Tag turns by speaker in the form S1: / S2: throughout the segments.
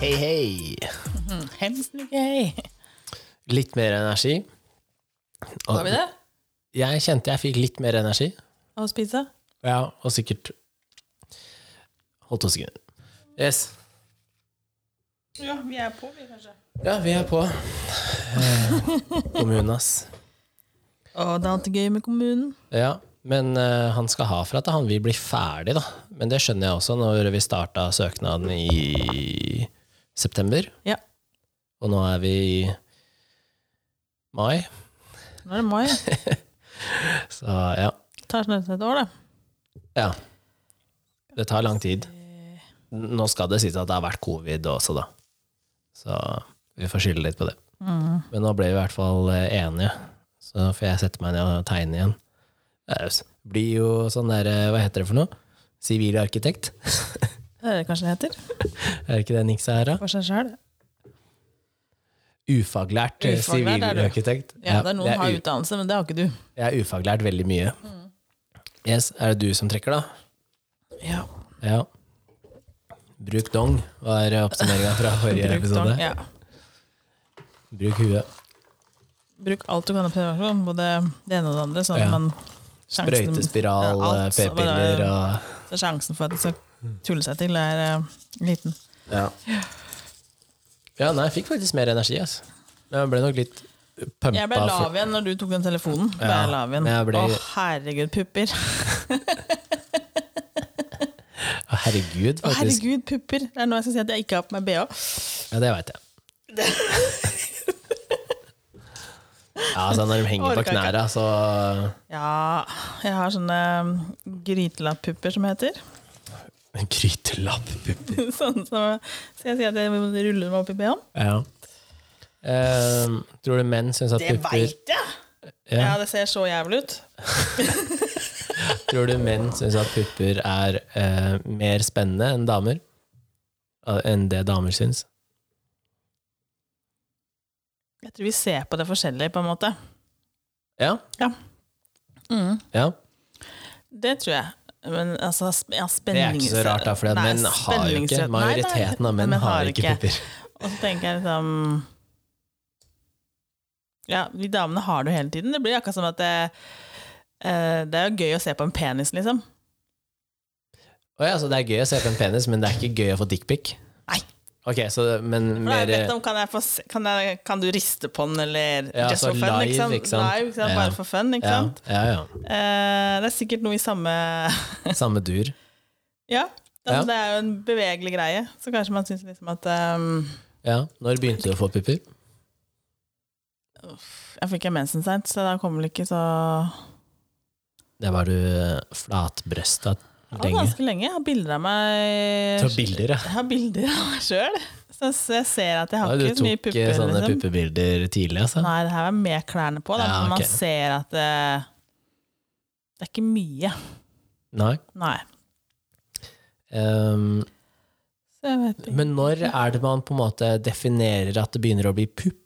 S1: Hei, hei.
S2: Hei.
S1: Litt mer energi. Og
S2: Har vi det?
S1: Jeg kjente jeg fikk litt mer energi.
S2: Av å spise?
S1: Ja, og sikkert Hold to sekunder. Yes.
S2: Ja, vi er på, vi, kanskje.
S1: Ja, vi er på. Eh, Kommunen, ass.
S2: Å, det er alltid gøy med kommunen.
S1: Ja, men eh, han skal ha for at han vil bli ferdig, da. Men det skjønner jeg også, når vi starta søknaden i september.
S2: Ja.
S1: Og nå er vi i mai,
S2: Nå er det mai.
S1: så ja.
S2: Det tar nesten et år, det.
S1: ja. Det tar lang tid. Nå skal det sies at det har vært covid også, da. Så vi får skylde litt på det.
S2: Mm.
S1: Men nå ble vi i hvert fall eh, enige, så får jeg sette meg ned og tegne igjen. Det er jo s- blir jo sånn der, eh, hva heter det for noe? Sivilarkitekt?
S2: Det er det kanskje det heter.
S1: Er det ikke det Nix er, da?
S2: For seg sjøl.
S1: Ufaglært eh,
S2: Ufaglært er du.
S1: sivilarkitekt.
S2: Ja, det er noen
S1: jeg,
S2: som har Mm.
S1: u-
S2: utdannelse, men det har ikke du.
S1: jeg er ufaglært veldig mye. Yes, er det du som trekker, da?
S2: Ja.
S1: Ja. Bruk dong, var oppsummeringa fra forrige
S2: Bruk,
S1: episode.
S2: tårn- ja.
S1: Bruk huet.
S2: Bruk alt du kan av prevensjon, både det ene og det andre. Sånn
S1: Ja.
S2: at man sjansen-
S1: Brøytespiral,
S2: Ja,
S1: eh,
S2: alt, så bare-
S1: p-piller og
S2: Så sjansen for at det skal tulle seg til, er eh, liten.
S1: ja. ja, nei, jeg fikk faktisk mer energi, altså. Jeg ble nok litt pumpa.
S2: Jeg ble lav igjen når du tok den telefonen. Ble
S1: Ja,
S2: jeg lav igjen.
S1: jeg ble-
S2: Å, herregud, pupper.
S1: Å, herregud,
S2: Å,
S1: faktisk.
S2: herregud, pupper. Det er nå jeg skal si at jeg ikke har på meg bh.
S1: Ja, det veit jeg. Ja, altså Når de henger på
S2: Orker ikke.
S1: knæra, så
S2: Ja, jeg har sånne um, grytelappupper som heter.
S1: Grytelappupper.
S2: sånn som så jeg sier at jeg ruller meg opp i bh-en.
S1: Ja. Ehm, tror du menn syns at pupper
S2: jeg!
S1: ja,
S2: Ja. det ser så jævlig ut.
S1: Tror du menn syns at pupper er eh, mer spennende enn damer? Eh, Enn det damer syns?
S2: Jeg tror vi ser på det forskjellig, på en måte.
S1: Ja.
S2: Mm.
S1: ja.
S2: Det tror jeg. Men altså, sp- ja,
S1: Det er ikke så rart, da, for
S2: Nei,
S1: menn har jo ikke
S2: spenningsrett- Nei, nei,
S1: Majoriteten av menn
S2: men
S1: har ikke pupper.
S2: Og så tenker jeg liksom Ja, vi damene har det jo hele tiden. Det blir akkurat som at det, eh, det er jo gøy å se på en penis, liksom.
S1: Å ja, så det er gøy å se på en penis, men det er ikke gøy å få dickpic?
S2: Nei.
S1: Ok, så det- men
S2: For da
S1: mer eh,
S2: er det bedt om, kan, jeg få, se- kan, jeg, kan du riste på den, eller
S1: Ja,
S2: just
S1: så
S2: for fun?
S1: live,
S2: ikke sant?
S1: ikke sant?
S2: Live, ikke sant?
S1: Ja.
S2: Bare for fun, ikke
S1: ja,
S2: sant?
S1: ja, ja.
S2: Eh, det er sikkert noe i samme
S1: Samme dur.
S2: Ja. Det,
S1: Ja.
S2: det er jo en bevegelig greie, så kanskje man syns liksom at ehm,
S1: Ja. Når begynte du å få pupper?
S2: Jeg fikk jo mensen seint, så da kommer vel ikke så
S1: Det var du eh, flatbrøsta
S2: Det var
S1: lenge.
S2: ganske lenge. Jeg har bilder av meg
S1: Du har bilder, ja.
S2: Jeg har bilder av meg sjøl, så så jeg ser at jeg har
S1: Ja, du
S2: ikke så mye
S1: tok
S2: pupper.
S1: eh, sånne
S2: liksom.
S1: puppebilder tidlig, altså?
S2: Nei, det her er med klærne på, da,
S1: Ja,
S2: men
S1: ok.
S2: man ser at eh, det er ikke mye.
S1: Nei.
S2: Nei.
S1: Ehm,
S2: Så jeg vet ikke.
S1: Men når er det man på en måte definerer at det begynner å bli pupp?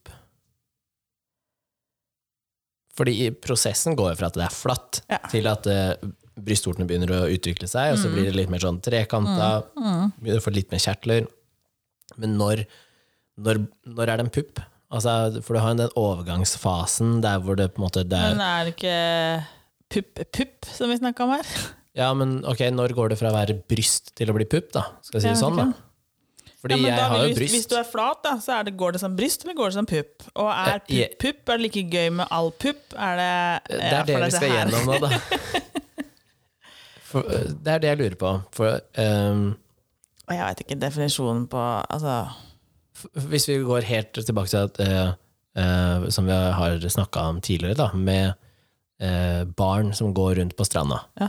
S1: Fordi prosessen går jo fra at det er flatt,
S2: Ja.
S1: til at uh, brystvortene begynner å utvikle seg, og så blir det litt mer sånn trekanta,
S2: Mm.
S1: begynner å få litt mer kjertler. Men når, når, når er det en pupp? Altså, for du har jo den overgangsfasen der hvor det på en måte det er,
S2: Men er det ikke pupp-pupp som vi snakka om her?
S1: Ja, men ok, når går det fra å være bryst til å bli pupp, da? Skal jeg si det
S2: Jeg vet
S1: sånn, da?
S2: ikke.
S1: Fordi
S2: Ja, men da
S1: jeg har
S2: vil
S1: jo
S2: du-
S1: bryst.
S2: Hvis du er flat, da, så er det, går det som bryst, eller går det som pupp? Og er
S1: Eh, jeg-
S2: pupp-pupp? Er det like gøy med all pupp? Er det
S1: Det er det vi skal gjennom nå, da. For, øh, det er det jeg lurer på. For, ehm, øhm,
S2: Og jeg veit ikke definisjonen på Altså
S1: f- hvis vi går helt tilbake til at øh, øh, Som vi har snakka om tidligere, da, med øh, barn som går rundt på stranda
S2: Ja.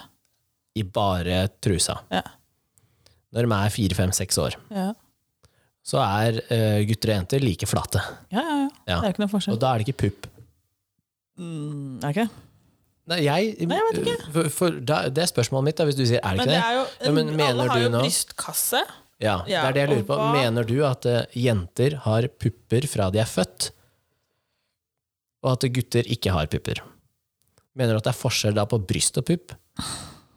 S1: i bare trusa.
S2: Ja.
S1: Når de er fire, fem, seks år,
S2: ja.
S1: så er øh, gutter og jenter like flate.
S2: Ja, ja, ja.
S1: Ja.
S2: Det er ikke noe forskjell.
S1: Og da er det ikke pupp.
S2: Mm, er det ikke?
S1: Nei, jeg, eh,
S2: Nei, jeg vet
S1: For, for, da, det er spørsmålet mitt, da, hvis du sier er det
S2: Men
S1: ikke
S2: det
S1: det.
S2: er jo,
S1: Ja, men mener
S2: alle har
S1: du
S2: jo
S1: nå-
S2: brystkasse.
S1: Ja, det
S2: Ja,
S1: er det jeg lurer
S2: og
S1: på.
S2: hva-
S1: Mener du at eh, jenter har pupper fra de er født, og at gutter ikke har pupper? Mener du at det er forskjell da på bryst og pupp?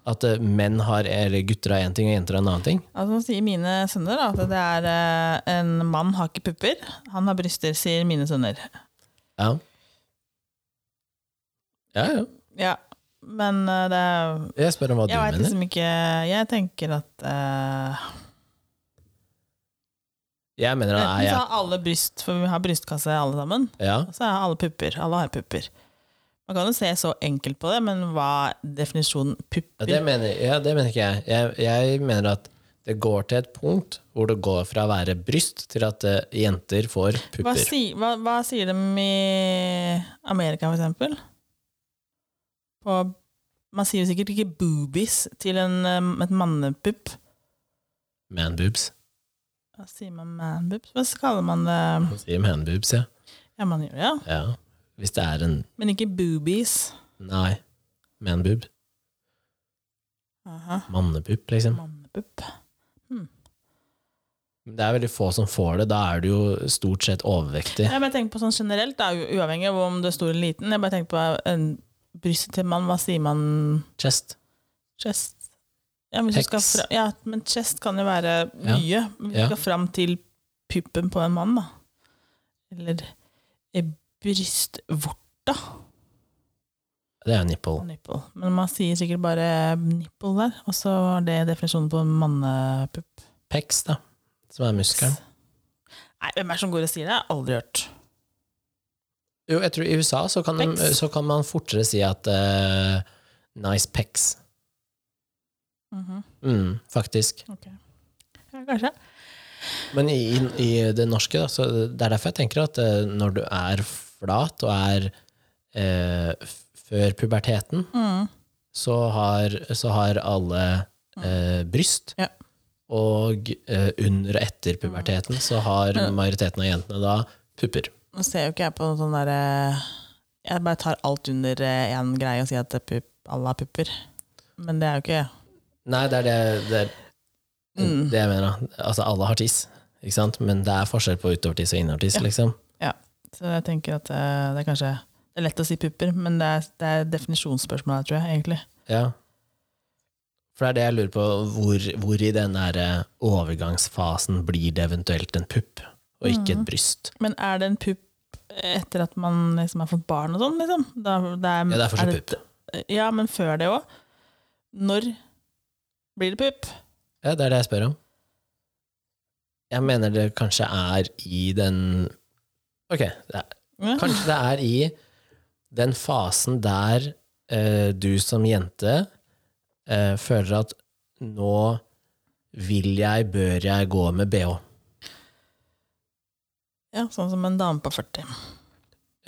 S1: At eh, menn har, eller gutter har én ting, og jenter har en annen ting.
S2: Altså, nå sier mine sønner da, at det er eh, en mann har ikke pupper, han har bryster, sier mine sønner.
S1: Ja, ja. ja.
S2: Ja, men eh, det er
S1: Jeg spør om hva
S2: Jeg
S1: du
S2: veit
S1: mener.
S2: liksom ikke Jeg tenker at eh,
S1: Jeg mener han
S2: Enten
S1: er
S2: så
S1: ja.
S2: har alle bryst, for vi har brystkasse alle sammen,
S1: ja.
S2: og så har alle pupper. Alle har pupper. Man kan jo se så enkelt på det, men hva er definisjonen
S1: Ja,
S2: pupper?
S1: det mener, ja, det mener ikke jeg. jeg. Jeg mener at det går til et punkt hvor det går fra å være bryst til at eh, jenter får
S2: hva,
S1: pupper.
S2: si, hva, hva sier de i Amerika, for eksempel? På, man sier jo sikkert ikke boobies til en, eh, et mannepupp.
S1: Manboobs.
S2: Hva sier man manboobs? Hva kaller man det?
S1: Man sier manboobs, ja.
S2: Ja, man gjør det, ja.
S1: ja. Hvis det er en
S2: Men ikke boobies.
S1: Nei. Manboob.
S2: Aha.
S1: Mannepupp, liksom.
S2: Mannepupp.
S1: Det er veldig få som får det. Da er du jo stort sett overvektig.
S2: Ja, men jeg tenker på sånn generelt, da, u- uavhengig av om du er stor eller liten. Jeg bare tenker på eh, en brystet til mann, hva sier man?
S1: Chest.
S2: Chest? Ja, men, hvis du skal
S1: Pecs.
S2: fra, ja, men chest kan jo være
S1: Ja.
S2: mye. Men Hvis
S1: Ja.
S2: du skal fram til puppen på en mann, da. Eller eh, brystvorta.
S1: Det er jo nipple.
S2: Nipple. Men man sier sikkert bare nipple der, og så er det definisjonen på mannepupp.
S1: Pecs, da. Som er muskelen.
S2: Nei, hvem er det som går og sier det? Jeg har aldri hørt.
S1: Jo, jeg tror i USA så kan, de,
S2: Pecs.
S1: så kan man fortere si at eh, nice pecs.
S2: Mhm.
S1: Mm, faktisk.
S2: ja, kanskje.
S1: Men i, i, i det norske, da, så det er derfor jeg tenker at eh, når du er flat og er eh, f- før puberteten,
S2: Mm.
S1: så har, så har alle eh, bryst.
S2: Ja. Mm.
S1: Og eh, under og etter puberteten så har
S2: Men-
S1: majoriteten av jentene da pupper.
S2: Nå ser jo ikke jeg på noen sånn derre Jeg bare tar alt under én greie og sier at det er pup, alle har pupper. Men det er jo ikke
S1: Nei, det er det, det, er,
S2: Mm.
S1: det jeg mener. da. Altså, alle har tiss, ikke sant? men det er forskjell på utovertiss og innovertiss,
S2: Ja.
S1: liksom.
S2: Så jeg tenker at eh, det er kanskje Det er lett å si pupper, men det er, det er definisjonsspørsmål her, tror jeg, egentlig.
S1: Ja. For det er det jeg lurer på. Hvor, hvor i den der eh, overgangsfasen blir det eventuelt en pupp, og ikke
S2: Mm.
S1: et bryst?
S2: Men er det en pupp etter at man liksom har fått barn og sånn, liksom? Da, det er,
S1: Ja, det er fortsatt
S2: det-
S1: pupp.
S2: Ja, men før det òg. Når blir det pupp?
S1: Ja, det er det jeg spør om. Jeg mener det kanskje er i den Ok, det er,
S2: Ja.
S1: kanskje det er i den fasen der eh, du som jente eh, føler at nå vil jeg, bør jeg gå med bh.
S2: ja, sånn som en dame på 40.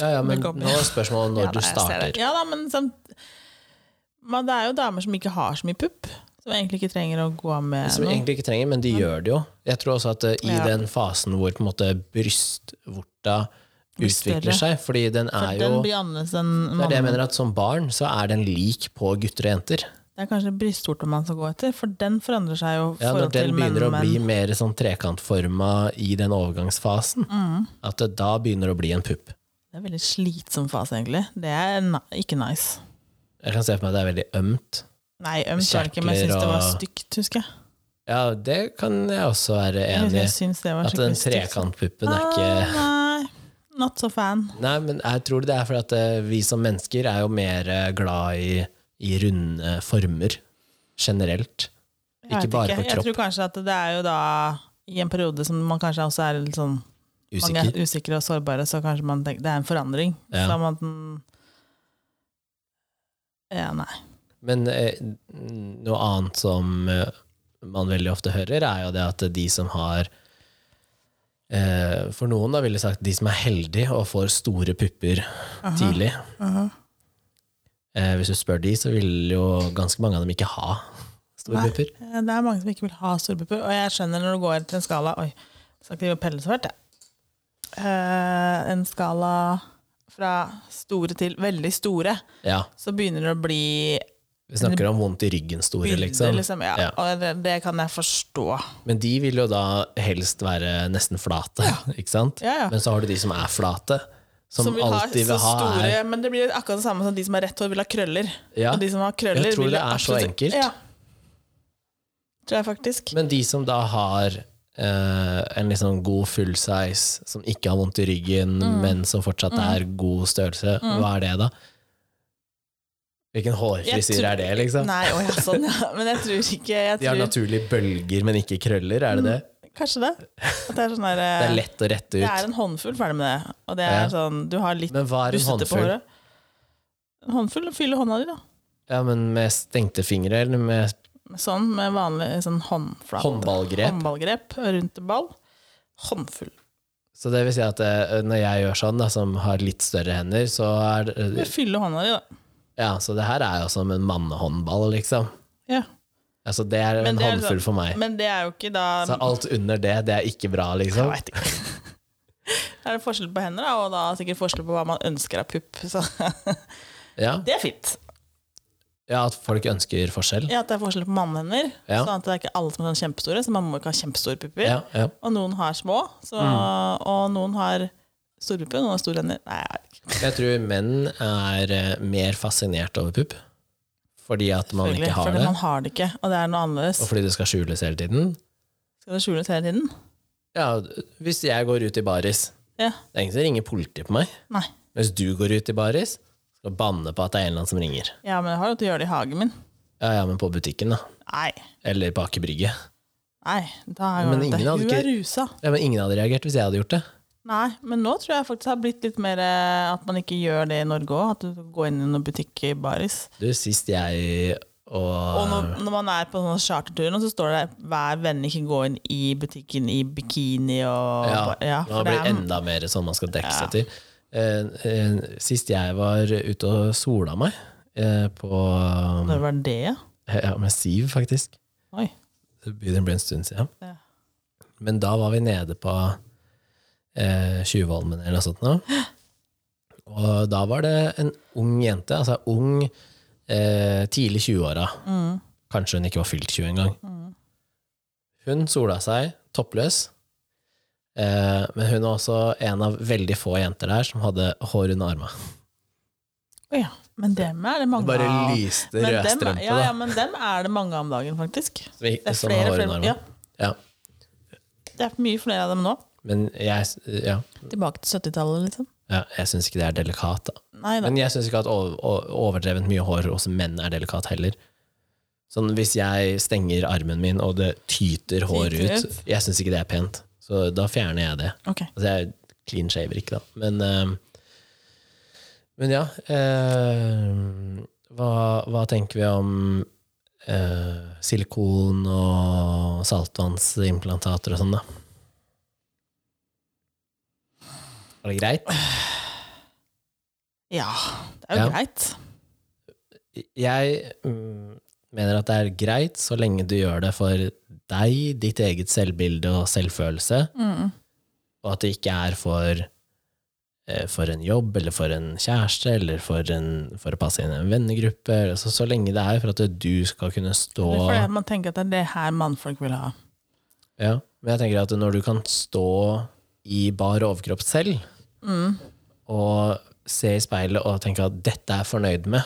S1: Ja, ja, men
S2: Velkommen.
S1: nå er spørsmålet når
S2: Ja,
S1: du
S2: da, jeg ser det.
S1: starter.
S2: Ja da, men samt, men det er jo damer som ikke har så mye pupp. Som egentlig ikke trenger å gå av med
S1: Som
S2: noe.
S1: egentlig ikke trenger, men de gjør det jo. Jeg tror også at eh, i
S2: Ja.
S1: den fasen hvor på en måte brystvorta
S2: Blir
S1: utvikler
S2: større.
S1: seg, fordi den
S2: For
S1: er
S2: den
S1: jo
S2: blir annerledes enn
S1: det er det jeg
S2: mannen.
S1: mener at Som barn så er den lik på gutter og jenter.
S2: Det er kanskje brystvorta man skal gå etter, for den forandrer seg jo. i
S1: Ja, når
S2: forhold
S1: den
S2: til
S1: begynner å
S2: menn,
S1: bli mer sånn trekantforma i den overgangsfasen,
S2: Mm.
S1: at det da begynner det å bli en pupp.
S2: Det er en veldig slitsom fase, egentlig. Det er na- ikke nice.
S1: Jeg kan se for meg at det er veldig ømt.
S2: Nei, ømt var det ikke, men jeg
S1: Kjertler
S2: syns det var
S1: og-
S2: stygt, husker jeg.
S1: Ja, det kan jeg også være
S2: Jeg husker
S1: enig
S2: jeg
S1: i.
S2: syns det var
S1: At den
S2: skikkelig stygt.
S1: trekantpuppen er ikke
S2: liksom. Ah, Nei, not so fan.
S1: Nei, men jeg tror det er fordi at eh, vi som mennesker er jo mer eh, glad i, i runde former generelt.
S2: Jeg
S1: Ikke
S2: vet
S1: bare på
S2: Jeg
S1: kropp.
S2: tror kanskje at det er jo da i en periode som man kanskje også er litt sånn mange
S1: Usikker.
S2: er usikre og sårbare, så kanskje man tenker det er en forandring.
S1: Ja.
S2: Som at den Ja, nei.
S1: Men eh, noe annet som eh, man veldig ofte hører, er jo det at de som har eh, For noen da ville jeg sagt de som er heldige og får store pupper tidlig. Eh, hvis du spør de, så vil jo ganske mange av dem ikke ha store
S2: Nei.
S1: pupper.
S2: Eh, Det er mange som ikke vil ha storbupper, og jeg skjønner når du går til en skala Oi, skal ikke drive og pelle så fælt, jeg. Eh, en skala fra store til veldig store,
S1: Ja,
S2: så begynner det å bli
S1: Vi snakker om vondt i ryggen store,
S2: bilder,
S1: liksom.
S2: liksom. Ja,
S1: Ja.
S2: Og det, det kan jeg forstå.
S1: Men de vil jo da helst være nesten flate, ikke sant?
S2: Ja, ja.
S1: Men så har du de som er flate, Som,
S2: Som vil ha så
S1: alltid vil ha
S2: store
S1: er
S2: Men det blir akkurat det samme som de som har rett hår, vil ha krøller.
S1: ja.
S2: Og de som har krøller,
S1: Jeg tror
S2: vil
S1: det
S2: ha
S1: er så
S2: absolutt-
S1: enkelt.
S2: Ja. Tror jeg faktisk.
S1: Men de som da har eh, en liksom god full size, som ikke har vondt i ryggen,
S2: Mm.
S1: men som fortsatt er god størrelse, hva er det da? Hvilken hårfrisyr
S2: tror-
S1: er det, liksom?
S2: Nei, å ja, sånn, ja. Men jeg tror ikke jeg
S1: De har
S2: tror,
S1: naturlig bølger, men ikke krøller, er det det?
S2: Kanskje det. At det er sånn der,
S1: Det er lett å rette
S2: Det
S1: ut.
S2: er en håndfull ferdig med det. Og det
S1: Ja.
S2: er sånn, du har litt
S1: Men hva er en
S2: bustete på
S1: håndfull?
S2: håret. En håndfull fyller hånda di, da.
S1: Ja, men med stengte fingre, eller med
S2: Sånn med vanlig sånn håndflate.
S1: Håndballgrep.
S2: Håndballgrep rundt en ball. Håndfull.
S1: Så det vil si at eh, når jeg gjør sånn, da, som har litt større hender, så er det
S2: Fylle hånda di, da.
S1: Ja, så det her er jo som en mannehåndball, liksom.
S2: Ja.
S1: Altså, det er
S2: Men
S1: en
S2: det er
S1: håndfull for meg.
S2: Men det er jo ikke da
S1: Så alt under det, det er ikke bra, liksom.
S2: Jeg vet ikke. Da er det forskjell på hender, da, og da er det sikkert forskjell på hva man ønsker av pupp. Så
S1: Ja,
S2: det er fint.
S1: ja at folk ønsker forskjell.
S2: Ja, At det er forskjell på mannhender.
S1: Ja.
S2: Sånn at det er ikke alle som er sånn kjempestore, så man må ikke ha kjempestore pupper.
S1: Ja, ja.
S2: Og noen har små, så, og noen har store pupper, og noen har store hender. Nei, jeg vet ikke.
S1: Jeg tror menn er eh, mer fascinert over pupp. Fordi at man
S2: Selvfølgelig,
S1: ikke har
S2: fordi
S1: det,
S2: man har det ikke, og det er noe annerledes.
S1: og fordi det skal skjules hele tiden.
S2: Skal det skjules hele tiden?
S1: Ja, hvis jeg går ut i baris,
S2: Ja.
S1: det er ingen som ringer politiet på meg.
S2: Nei.
S1: Hvis du går ut i baris, skal du banne på at det er en eller annen som ringer.
S2: Ja, men jeg har jo til å gjøre det i hagen min.
S1: Ja, ja, men på butikken, da.
S2: Nei.
S1: Eller på Aker Brygge.
S2: Nei, da er jo
S1: Men
S2: det-
S1: ingen hadde
S2: Hun
S1: ikke-
S2: er rusa.
S1: Ja, men ingen hadde reagert hvis jeg hadde gjort det.
S2: Nei, men nå tror jeg faktisk det har blitt litt mer eh, at man ikke gjør det i Norge òg. At du går inn i noen butikk i baris.
S1: Du, sist jeg og
S2: Og når, når man er på sånne charterturer, nå, så står det 'vær vennlig ikke gå inn i butikken i bikini' og
S1: Ja,
S2: ja,
S1: Nå
S2: for det
S1: blir det
S2: er,
S1: enda mer sånn man skal dekke
S2: Ja.
S1: seg til. Eh, eh, sist jeg var ute og sola meg eh, på eh,
S2: Når var det, ja?
S1: ja, Med Siv, faktisk.
S2: Oi.
S1: Det begynner å bli en stund siden.
S2: Ja.
S1: Men da var vi nede på eh, Tjuvholmen eller noe sånt. Nå. Og da var det en ung jente, altså ung, eh, tidlig 20-åra.
S2: Mm.
S1: Kanskje hun ikke var fylt 20 engang. Hun sola seg toppløs. Eh, men hun var også en av veldig få jenter der som hadde hår under arma.
S2: Å ja. Men dem er det
S1: Det
S2: mange
S1: bare
S2: av.
S1: lyste
S2: Men dem,
S1: rødstrømpe,
S2: ja, ja,
S1: da.
S2: men dem er det mange av om dagen, faktisk.
S1: Som, gikk-
S2: Det er
S1: som har
S2: flere,
S1: hår
S2: flere
S1: under
S2: ja,
S1: armen. Ja.
S2: det er mye flere av dem nå.
S1: Men jeg, ja,
S2: Tilbake til 70-tallet, liksom.
S1: ja, jeg syns ikke det er delikat. Da.
S2: Nei da.
S1: Men jeg syns ikke at over, o- overdrevent mye hår hos menn er delikat heller. Sånn Hvis jeg stenger armen min, og det tyter hår
S2: Tyter
S1: ut, jeg syns ikke det er pent. Så da fjerner jeg det.
S2: Ok.
S1: Altså, jeg clean shaver ikke, da. Men, eh, men ja eh, hva, hva tenker vi om eh, silikon og saltvannsimplantater og sånn, da? Er det greit?
S2: Ja, det er jo
S1: Ja.
S2: greit.
S1: Jeg mm, mener at det er greit så lenge du gjør det for deg, ditt eget selvbilde og selvfølelse.
S2: Mm.
S1: og at det ikke er for eh, for en jobb, eller for en kjæreste, eller for, en, for å passe inn i en vennegruppe. Altså, så lenge det er for at du skal kunne stå
S2: Det er fordi at man tenker at det er det her mannfolk vil ha.
S1: ja. Men jeg tenker at når du kan stå i bar overkropp selv,
S2: Mm.
S1: og se i speilet og tenke at 'dette er jeg fornøyd med',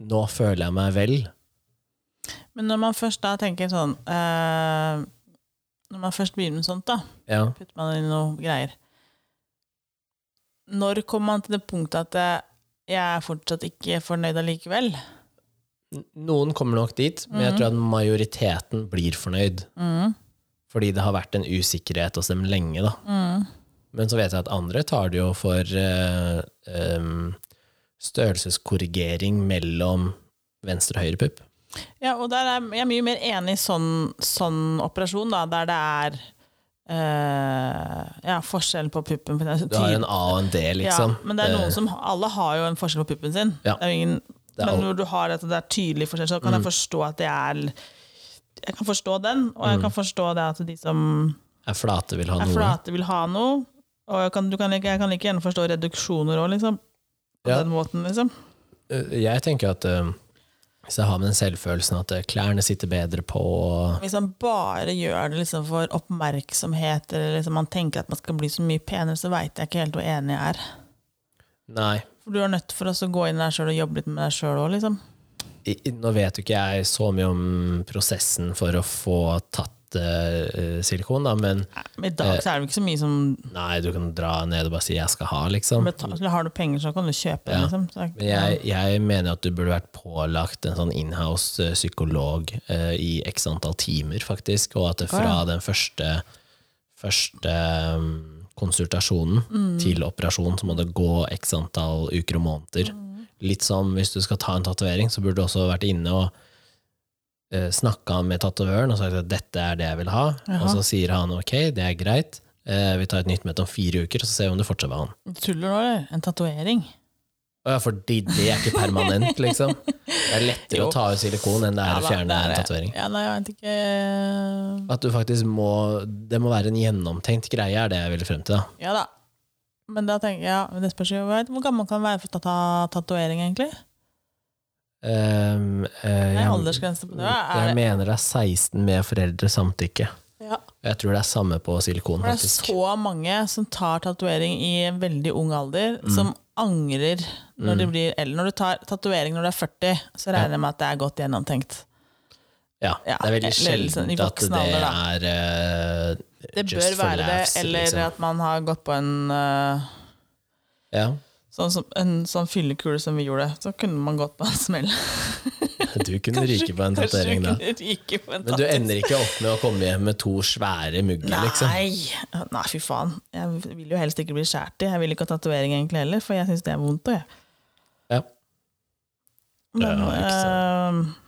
S1: 'nå føler jeg meg vel',
S2: Men når man først da tenker sånn eh, Når man først begynner med sånt, da,
S1: ja,
S2: putter man inn noe greier Når kommer man til det punktet at eh, jeg er fortsatt ikke fornøyd allikevel?
S1: N- Noen kommer nok dit, men jeg tror at majoriteten blir fornøyd.
S2: Mm.
S1: Fordi det har vært en usikkerhet hos dem lenge, da.
S2: Mm.
S1: Men så vet jeg at andre tar det jo for eh, em, størrelseskorrigering mellom venstre og høyre pupp.
S2: Ja, og der er jeg er mye mer enig i sånn, sånn operasjon, da, der det er eh, ja, forskjell på puppen. for det er så
S1: Du har
S2: tydelig.
S1: en A og en D, liksom.
S2: Ja, men det er
S1: Eh,
S2: noen som, alle har jo en forskjell på puppen sin.
S1: Ja.
S2: Det er jo ingen,
S1: Det er
S2: men
S1: alt. Mm.
S2: når du har at det er tydelig forskjell, så kan jeg forstå at det er Jeg kan forstå den, og
S1: Mm.
S2: jeg kan forstå det at de som
S1: er flate, vil ha
S2: er
S1: noe.
S2: flate, vil ha noe. Og jeg kan, du kan, like- jeg kan like gjerne forstå reduksjoner òg, liksom. På
S1: Ja.
S2: den måten, liksom.
S1: Eh, Jeg tenker at eh, hvis jeg har med den selvfølelsen at eh, klærne sitter bedre på og
S2: Hvis man bare gjør det liksom for oppmerksomhet, eller liksom man tenker at man skal bli så mye penere, så veit jeg ikke helt hvor enig jeg er.
S1: Nei.
S2: For du er nødt for oss å gå inn der sjøl og jobbe litt med deg sjøl òg, liksom.
S1: I- i- Nå vet jo ikke jeg så mye om prosessen for å få tatt eh, silikon, da, men
S2: Nei, men I
S1: Eh.
S2: dag så er det jo ikke så mye som
S1: nei, du kan dra ned og bare si 'jeg skal ha', liksom.
S2: betal- eller Har du penger, så kan du kjøpe det,
S1: Ja.
S2: liksom. Så,
S1: Men jeg, jeg mener at du burde vært pålagt en sånn inhouse eh, psykolog eh, i x antall timer, faktisk, og at det fra
S2: Å,
S1: den første, første mm, konsultasjonen
S2: Mm.
S1: til operasjon, så må det gå x antall uker og måneder.
S2: Mm.
S1: Litt som hvis du skal ta en tatovering, så burde du også vært inne og eh, snakka med tatovøren og sagt at dette er det jeg vil ha, og
S2: Jaha.
S1: så sier han ok, det er greit, eh, vi tar et nytt møte om fire uker, så ser vi om du fortsetter med han.
S2: Du tuller nå, eller? En tatovering?
S1: Å Ja, fordi det er ikke permanent, liksom. Det er lettere
S2: Jo.
S1: å ta ut silikon enn det er
S2: da,
S1: å fjerne
S2: det er
S1: en
S2: det.
S1: tatovering.
S2: Ja, nei, jeg vet ikke
S1: At du faktisk må Det må være en gjennomtenkt greie, er det jeg ville frem til. da
S2: Ja da. Men da tenker jeg, ja, men det spørs jo jeg vet, Hvor gammel kan man være for å ta tatovering, egentlig?
S1: Ehm, eh,
S2: Det er
S1: jeg-
S2: aldersgrense på det. Er
S1: Jeg
S2: det?
S1: mener det er 16 med foreldres samtykke.
S2: Ja.
S1: Jeg tror det er samme på silikon,
S2: For det er
S1: faktisk.
S2: så mange som tar tatovering i en veldig ung alder,
S1: Mm.
S2: som angrer når de blir eldre. Når du tar tatovering når du er 40, så regner jeg med at det er godt gjennomtenkt.
S1: Ja,
S2: ja,
S1: det er veldig
S2: eller liksom i
S1: sjeldent at
S2: voksen alder, da.
S1: det er eh,
S2: Det
S1: just
S2: bør
S1: for
S2: være det,
S1: laughs,
S2: eller
S1: liksom.
S2: at man har gått på en eh,
S1: Ja,
S2: Sånn som, en sånn fyllekule som vi gjorde, så kunne man gått på en smell.
S1: du kunne ryke på en tatovering da.
S2: Kanskje ryke på en
S1: Men du ender ikke opp med å komme hjem med to svære mugger, liksom.
S2: Nei. Nei, fy faen. Jeg vil jo helst ikke bli skåret i. Jeg vil ikke ha tatovering egentlig heller, for jeg syns det er vondt. Og jeg.
S1: Ja.
S2: Men,
S1: Ja, ikke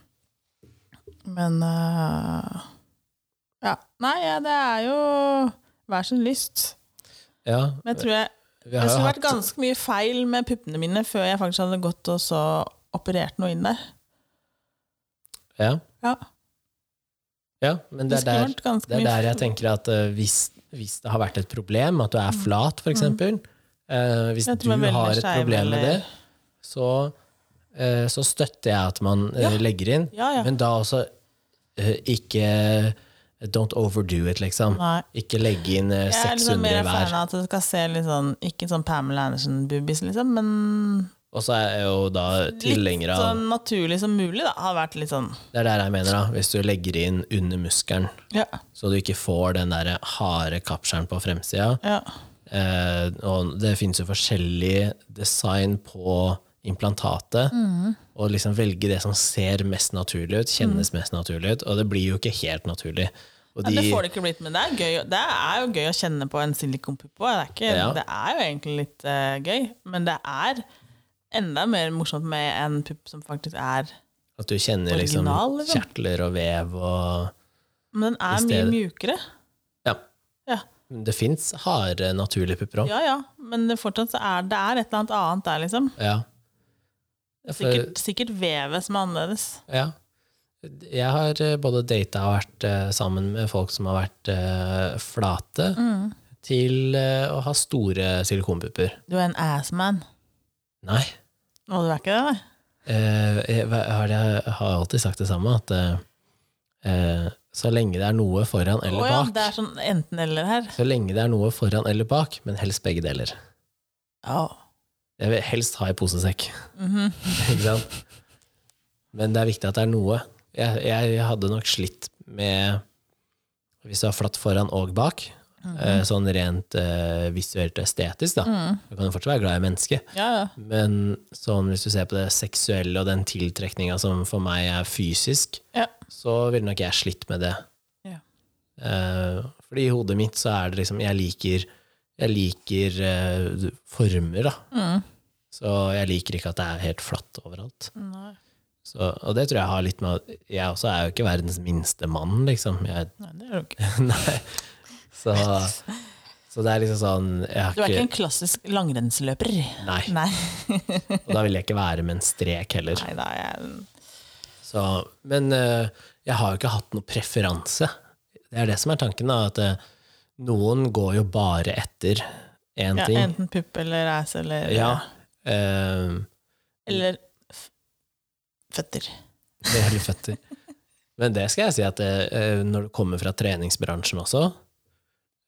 S2: eh, men eh, Ja. Nei, ja, det er jo hver sin lyst.
S1: Ja,
S2: Men jeg tror jeg,
S1: vi
S2: det
S1: har jo
S2: skulle
S1: hatt
S2: vært ganske mye feil med puppene mine før jeg faktisk hadde gått og så operert noe inn der.
S1: ja.
S2: Ja,
S1: Ja, men
S2: det
S1: det er
S2: skulle
S1: der,
S2: vært ganske
S1: det er
S2: mye
S1: der jeg tenker at eh, hvis, hvis det har vært et problem, at du er flat for eksempel, eh, hvis
S2: Mm. Jeg
S1: du
S2: tror man velger
S1: har et
S2: skeiv
S1: problem med det,
S2: eller-
S1: så, eh, så støtter jeg at man eh,
S2: Ja.
S1: legger inn,
S2: Ja, ja.
S1: men da også eh, ikke Don't overdo it, liksom.
S2: Nei.
S1: Ikke legge inn eh,
S2: Jeg er
S1: 600
S2: liksom mer fan
S1: hver.
S2: av at det skal se litt sånn Ikke sånn Pamela Andersen-boobies, liksom, men
S1: Og så er jeg jo da
S2: litt
S1: tilhenger av
S2: sånn naturlig som mulig, da. Har vært litt sånn
S1: Det er der jeg mener, da. Hvis du legger inn under muskelen,
S2: Ja.
S1: så du ikke får den der harde kapskjæren på fremsida,
S2: ja.
S1: Eh, og det finnes jo forskjellig design på implantatet.
S2: Mm.
S1: Og liksom velge det som ser mest naturlig ut, kjennes mest naturlig ut. Og det blir jo ikke helt naturlig. Og
S2: Nei,
S1: de,
S2: Mm. det får det ikke blitt, men det er, gøy, det er jo gøy å kjenne på en silikonpupp også. Det, er ikke-
S1: Ja.
S2: det er jo egentlig litt eh, gøy, men det er enda mer morsomt med en pupp som faktisk er
S1: at du kjenner liksom
S2: Original, liksom.
S1: kjertler og vev og
S2: Men den
S1: I
S2: er mye
S1: stedet-
S2: mjukere.
S1: Ja.
S2: Ja.
S1: Det fins harde, naturlige pupper òg.
S2: Ja ja, men det fortsatt så er det er et eller annet annet der, liksom.
S1: Ja. Ja, for-
S2: Sikkert, sikkert vevet som er annerledes.
S1: Ja. Jeg har eh, både data og vært eh, sammen med folk som har vært eh, flate,
S2: Mm.
S1: til eh, å ha store silikonpupper.
S2: Du er en assman.
S1: Nei.
S2: Må du er ikke det? Nei?
S1: Eh, jeg hva- har, jeg har alltid sagt det samme, at eh, eh, så lenge det er noe foran eller
S2: Å ja,
S1: bak,
S2: det er sånn enten-eller her.
S1: så lenge det er noe foran eller bak, men helst begge deler.
S2: Ja.
S1: Jeg vil helst ha i posesekk.
S2: Mhm.
S1: Ikke sant? Men det er viktig at det er noe. Jeg, jeg hadde nok slitt med Hvis du har flatt foran og bak,
S2: Mhm.
S1: eh, sånn rent eh, visuelt og estetisk, da.
S2: Mm.
S1: Du kan jo fortsatt være glad i mennesket.
S2: ja, ja.
S1: Men sånn, hvis du ser på det seksuelle og den tiltrekninga som for meg er fysisk,
S2: Ja.
S1: så ville nok jeg slitt med det.
S2: Ja.
S1: Eh, fordi i hodet mitt så er det liksom Jeg liker, jeg liker eh, former, da.
S2: Mm.
S1: Så jeg liker ikke at det er helt flatt overalt.
S2: Nei.
S1: Så, og det tror jeg har litt med at Jeg også er jo ikke verdens minste mann, liksom. Jeg,
S2: Nei, det er du ikke.
S1: nei. Så, så det er liksom sånn Jeg har
S2: Du er ikke
S1: ikke
S2: en klassisk langrennsløper.
S1: Nei.
S2: Nei.
S1: Og da vil jeg ikke være med en strek heller.
S2: Nei da, jeg,
S1: Så, men eh, jeg har jo ikke hatt noen preferanse. Det er det som er tanken, da, at eh, noen går jo bare etter én
S2: ja,
S1: ting.
S2: enten pupp eller ass eller,
S1: Ja. eh,
S2: eller f føtter.
S1: det er litt føtter. Men det skal jeg si at eh, når du kommer fra treningsbransjen også,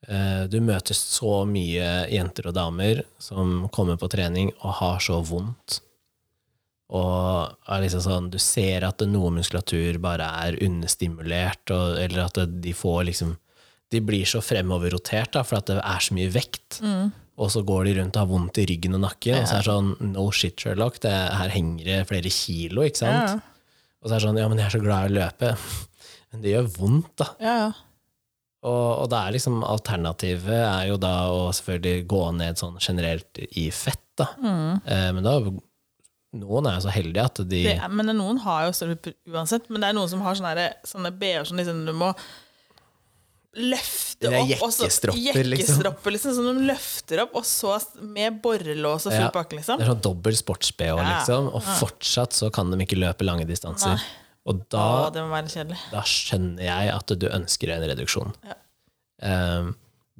S1: Eh, Du møter så mye jenter og damer som kommer på trening og har så vondt. Og er liksom sånn, du ser at noe muskulatur bare er understimulert, og, eller at de får liksom De blir så fremoverrotert da, for at det er så mye vekt.
S2: Mm.
S1: Og så går de rundt og har vondt i ryggen og nakken. Og så er det sånn No shit, Sherlock. Det, her henger det flere kilo, ikke sant?
S2: Ja,
S1: Og så er det sånn Ja, men jeg er så glad i å løpe. Men det gjør vondt, da.
S2: ja. ja.
S1: Og, og det er liksom alternativet er jo da å selvfølgelig gå ned sånn generelt i fett, da.
S2: Mm.
S1: Eh, men da Noen er jo så heldige at de
S2: Det er, men det er noen har jo større uansett, men det er noen som har sånne, her- sånne BH-er som liksom du må løfte
S1: Det er
S2: opp. og så-
S1: jekkestropper, liksom.
S2: jekkestropper, liksom. Som de løfter opp, og så s- med borrelås og full
S1: Ja.
S2: pakke, liksom.
S1: Det er sånn dobbel sports-BH,
S2: Ja.
S1: liksom. Og fortsatt så kan de ikke løpe lange distanser. Og da,
S2: Å, det må være kjedelig.
S1: da skjønner jeg at du ønsker en reduksjon.
S2: Ja.
S1: Eh,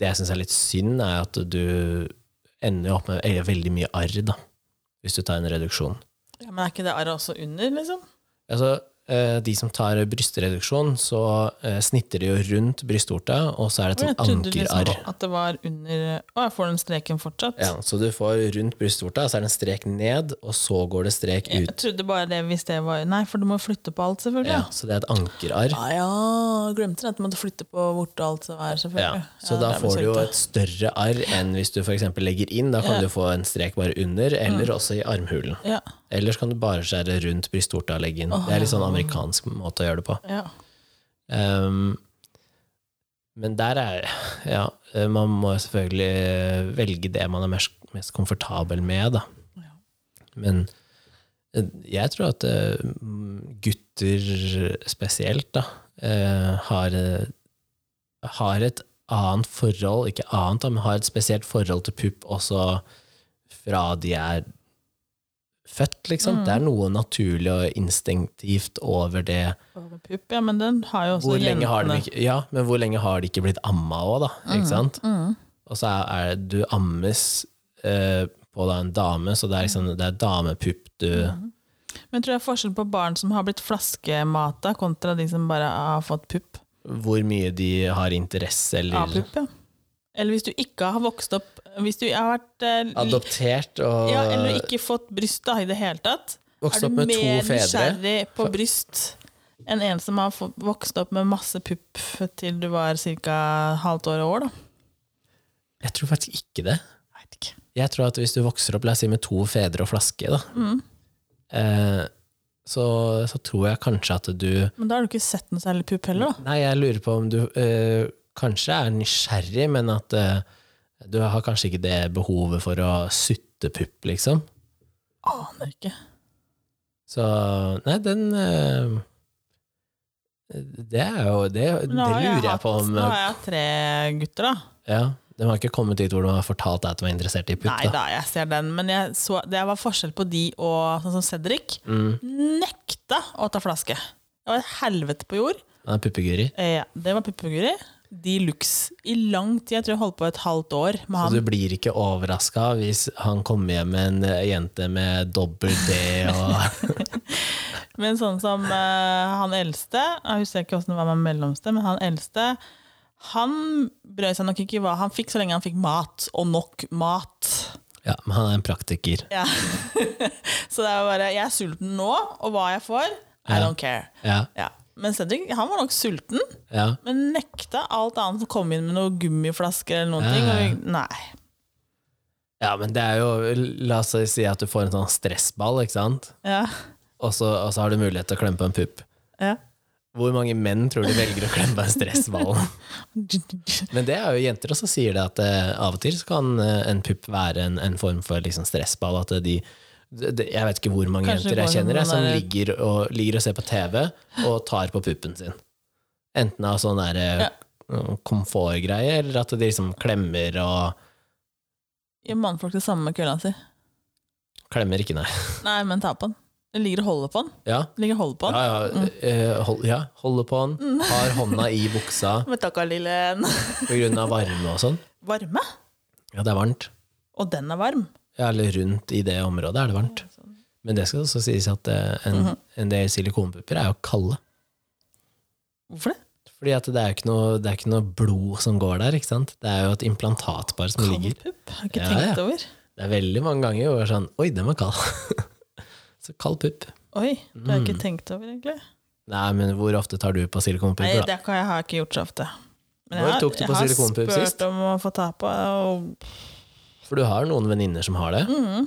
S1: det jeg syns er litt synd, er at du ender jo opp med eh, veldig mye arr, da. Hvis du tar en reduksjon.
S2: Ja, men er ikke det arret også under, liksom?
S1: Altså, eh, de som tar brystreduksjon, så eh, snitter de jo rundt brystvorta, og så er det et sånt
S2: Jeg trodde
S1: ankerarr.
S2: liksom at det var under Å, jeg får den streken fortsatt.
S1: Ja, så du får rundt brystvorta, så er det en strek ned, og så går det strek ut.
S2: Jeg trodde bare det hvis det var Nei, for du må flytte på alt, selvfølgelig.
S1: Ja, så det er et ankerarr.
S2: Ah, ja, glemte det at du måtte flytte på vorte og alt som er,
S1: Ja,
S2: selvfølgelig.
S1: så
S2: Ja,
S1: da
S2: det er
S1: får du jo
S2: kjekt, da.
S1: et større arr enn hvis du f.eks. legger inn. Da kan du få en strek bare under, eller også i armhulen.
S2: Ja,
S1: Ellers kan du bare skjære rundt brystvorta og legge inn. Det er litt sånn amerikansk måte å gjøre det på.
S2: ja.
S1: Ehm, men der er Ja, man må jo selvfølgelig velge det man er mest, mest komfortabel med, da.
S2: Ja.
S1: Men eh, jeg tror at eh, gutter spesielt, da, eh, har, eh, har et annet forhold, ikke annet, da, men har et spesielt forhold til pupp også fra de er født, liksom. Det er noe naturlig og instinktivt over det.
S2: Over pupp, ja, men den har jo også
S1: Hvor lenge har de
S2: jentene. Mm,
S1: ikke, ja, men hvor lenge har de ikke blitt amma òg, da? Ikke sant? Og så er, er du ammes eh, på da en dame, så det er, liksom, det er damepupp du
S2: Mm. Men jeg tror det er forskjell på barn som har blitt flaskemata, kontra de som bare har fått pupp
S1: Hvor mye de har interesse
S2: av
S1: eller
S2: pupp, ja. Eller hvis du ikke har vokst opp Hvis du har vært eh, l-
S1: adoptert og
S2: ja, Eller ikke fått bryst da, i det hele tatt,
S1: Vokst
S2: er
S1: opp
S2: du
S1: med
S2: mer
S1: to fedre.
S2: nysgjerrig på
S1: Fa-
S2: bryst enn en som har fått- vokst opp med masse pupp til du var ca. halvt år og år, da.
S1: Jeg tror faktisk ikke det.
S2: Jeg vet ikke.
S1: Jeg tror at hvis du vokser opp la oss si, med to fedre og flaske, da,
S2: Mm.
S1: eh, så, så tror jeg kanskje at du
S2: Men da har du ikke sett noe særlig pupp heller, da.
S1: Nei, jeg lurer på om du eh, kanskje er nysgjerrig, men at eh, du har kanskje ikke det behovet for å sutte pupp, liksom.
S2: Aner ikke.
S1: Så nei, den eh, Det er jo Det, det
S2: Nå har
S1: lurer jeg
S2: hatt-
S1: på om
S2: Nå har jeg hatt tre gutter, da.
S1: ja, De har ikke kommet dit hvor de har fortalt deg at du var interessert i pupp,
S2: Nei
S1: da.
S2: da, jeg ser den. Men jeg så, det var forskjell på de og sånn som Cedric.
S1: Mm,
S2: Nekta å ta flaske. Det var et helvete på jord.
S1: han er puppeguri.
S2: Eh, det var puppeguri. De luxe. I lang tid. Jeg tror jeg holdt på et halvt år med
S1: Så
S2: han.
S1: du blir ikke overraska hvis han kommer hjem med en eh, jente med dobbel D og
S2: Men sånn som eh, han eldste Jeg husker ikke åssen det var med den mellomste, men han eldste han brød seg nok ikke hva han fikk, så lenge han fikk mat. Og nok mat.
S1: Ja, men han er en praktiker.
S2: Ja. så det er jo bare Jeg er sulten nå, og hva jeg får, I
S1: Ja.
S2: don't care.
S1: Ja,
S2: Ja. Men Cedric han var nok sulten,
S1: ja.
S2: men nekta alt annet som kom inn med noen gummiflasker eller noen
S1: Ja,
S2: ting.
S1: ja, ja.
S2: Og vi, nei.
S1: Ja, men det er jo La oss si at du får en sånn stressball, ikke sant?
S2: Ja.
S1: Og så, og så har du mulighet til å klemme på en pupp.
S2: Ja.
S1: Hvor mange menn tror du velger å klemme på en stressball? Men det er jo jenter også sier det, at eh, av og til så kan eh, en pupp være en, en form for liksom stressball. At de det, det- jeg vet ikke hvor mange
S2: Kanskje
S1: jenter jeg
S2: går som
S1: kjenner jeg, som
S2: den der-
S1: ligger og, ligger og ser på TV og tar på puppen sin. Enten av sånn der eh, komfortgreie, eller at de liksom klemmer og
S2: Gjør mannfolk det samme med kølla si?
S1: Klemmer ikke, nei.
S2: Nei, men ta på den. Den ligger og holder på den.
S1: Ja,
S2: Den Ligger og holder på den.
S1: Ja, ja, eh, hold, ja holder på den, har hånda i buksa
S2: Men takk, lille en.
S1: på grunn av varme og sånn.
S2: Varme?
S1: Ja, det er varmt.
S2: Og den er varm.
S1: Ja, eller rundt i det området er det varmt. Men det skal også sies at eh, en, en del silikonpupper er jo kalde.
S2: Hvorfor det?
S1: Fordi at det er jo ikke noe, det er ikke noe blod som går der, ikke sant? Det er jo et implantatpar som ligger.
S2: Kaldpupp? Har ikke
S1: Ja,
S2: tenkt
S1: ja.
S2: over.
S1: Det er veldig mange ganger hvor det er sånn Oi, den var kald. Så kald pupp.
S2: Oi, det har jeg
S1: Mm.
S2: ikke tenkt over, egentlig.
S1: Nei, men hvor ofte tar du på
S2: Nei,
S1: silikonpupper, da?
S2: det har jeg har ikke gjort så ofte.
S1: Når
S2: jeg har,
S1: tok du på
S2: jeg har
S1: silikonpupp
S2: spurt
S1: sist?
S2: om å få ta på, og
S1: For du har noen venninner som har det.
S2: Nei,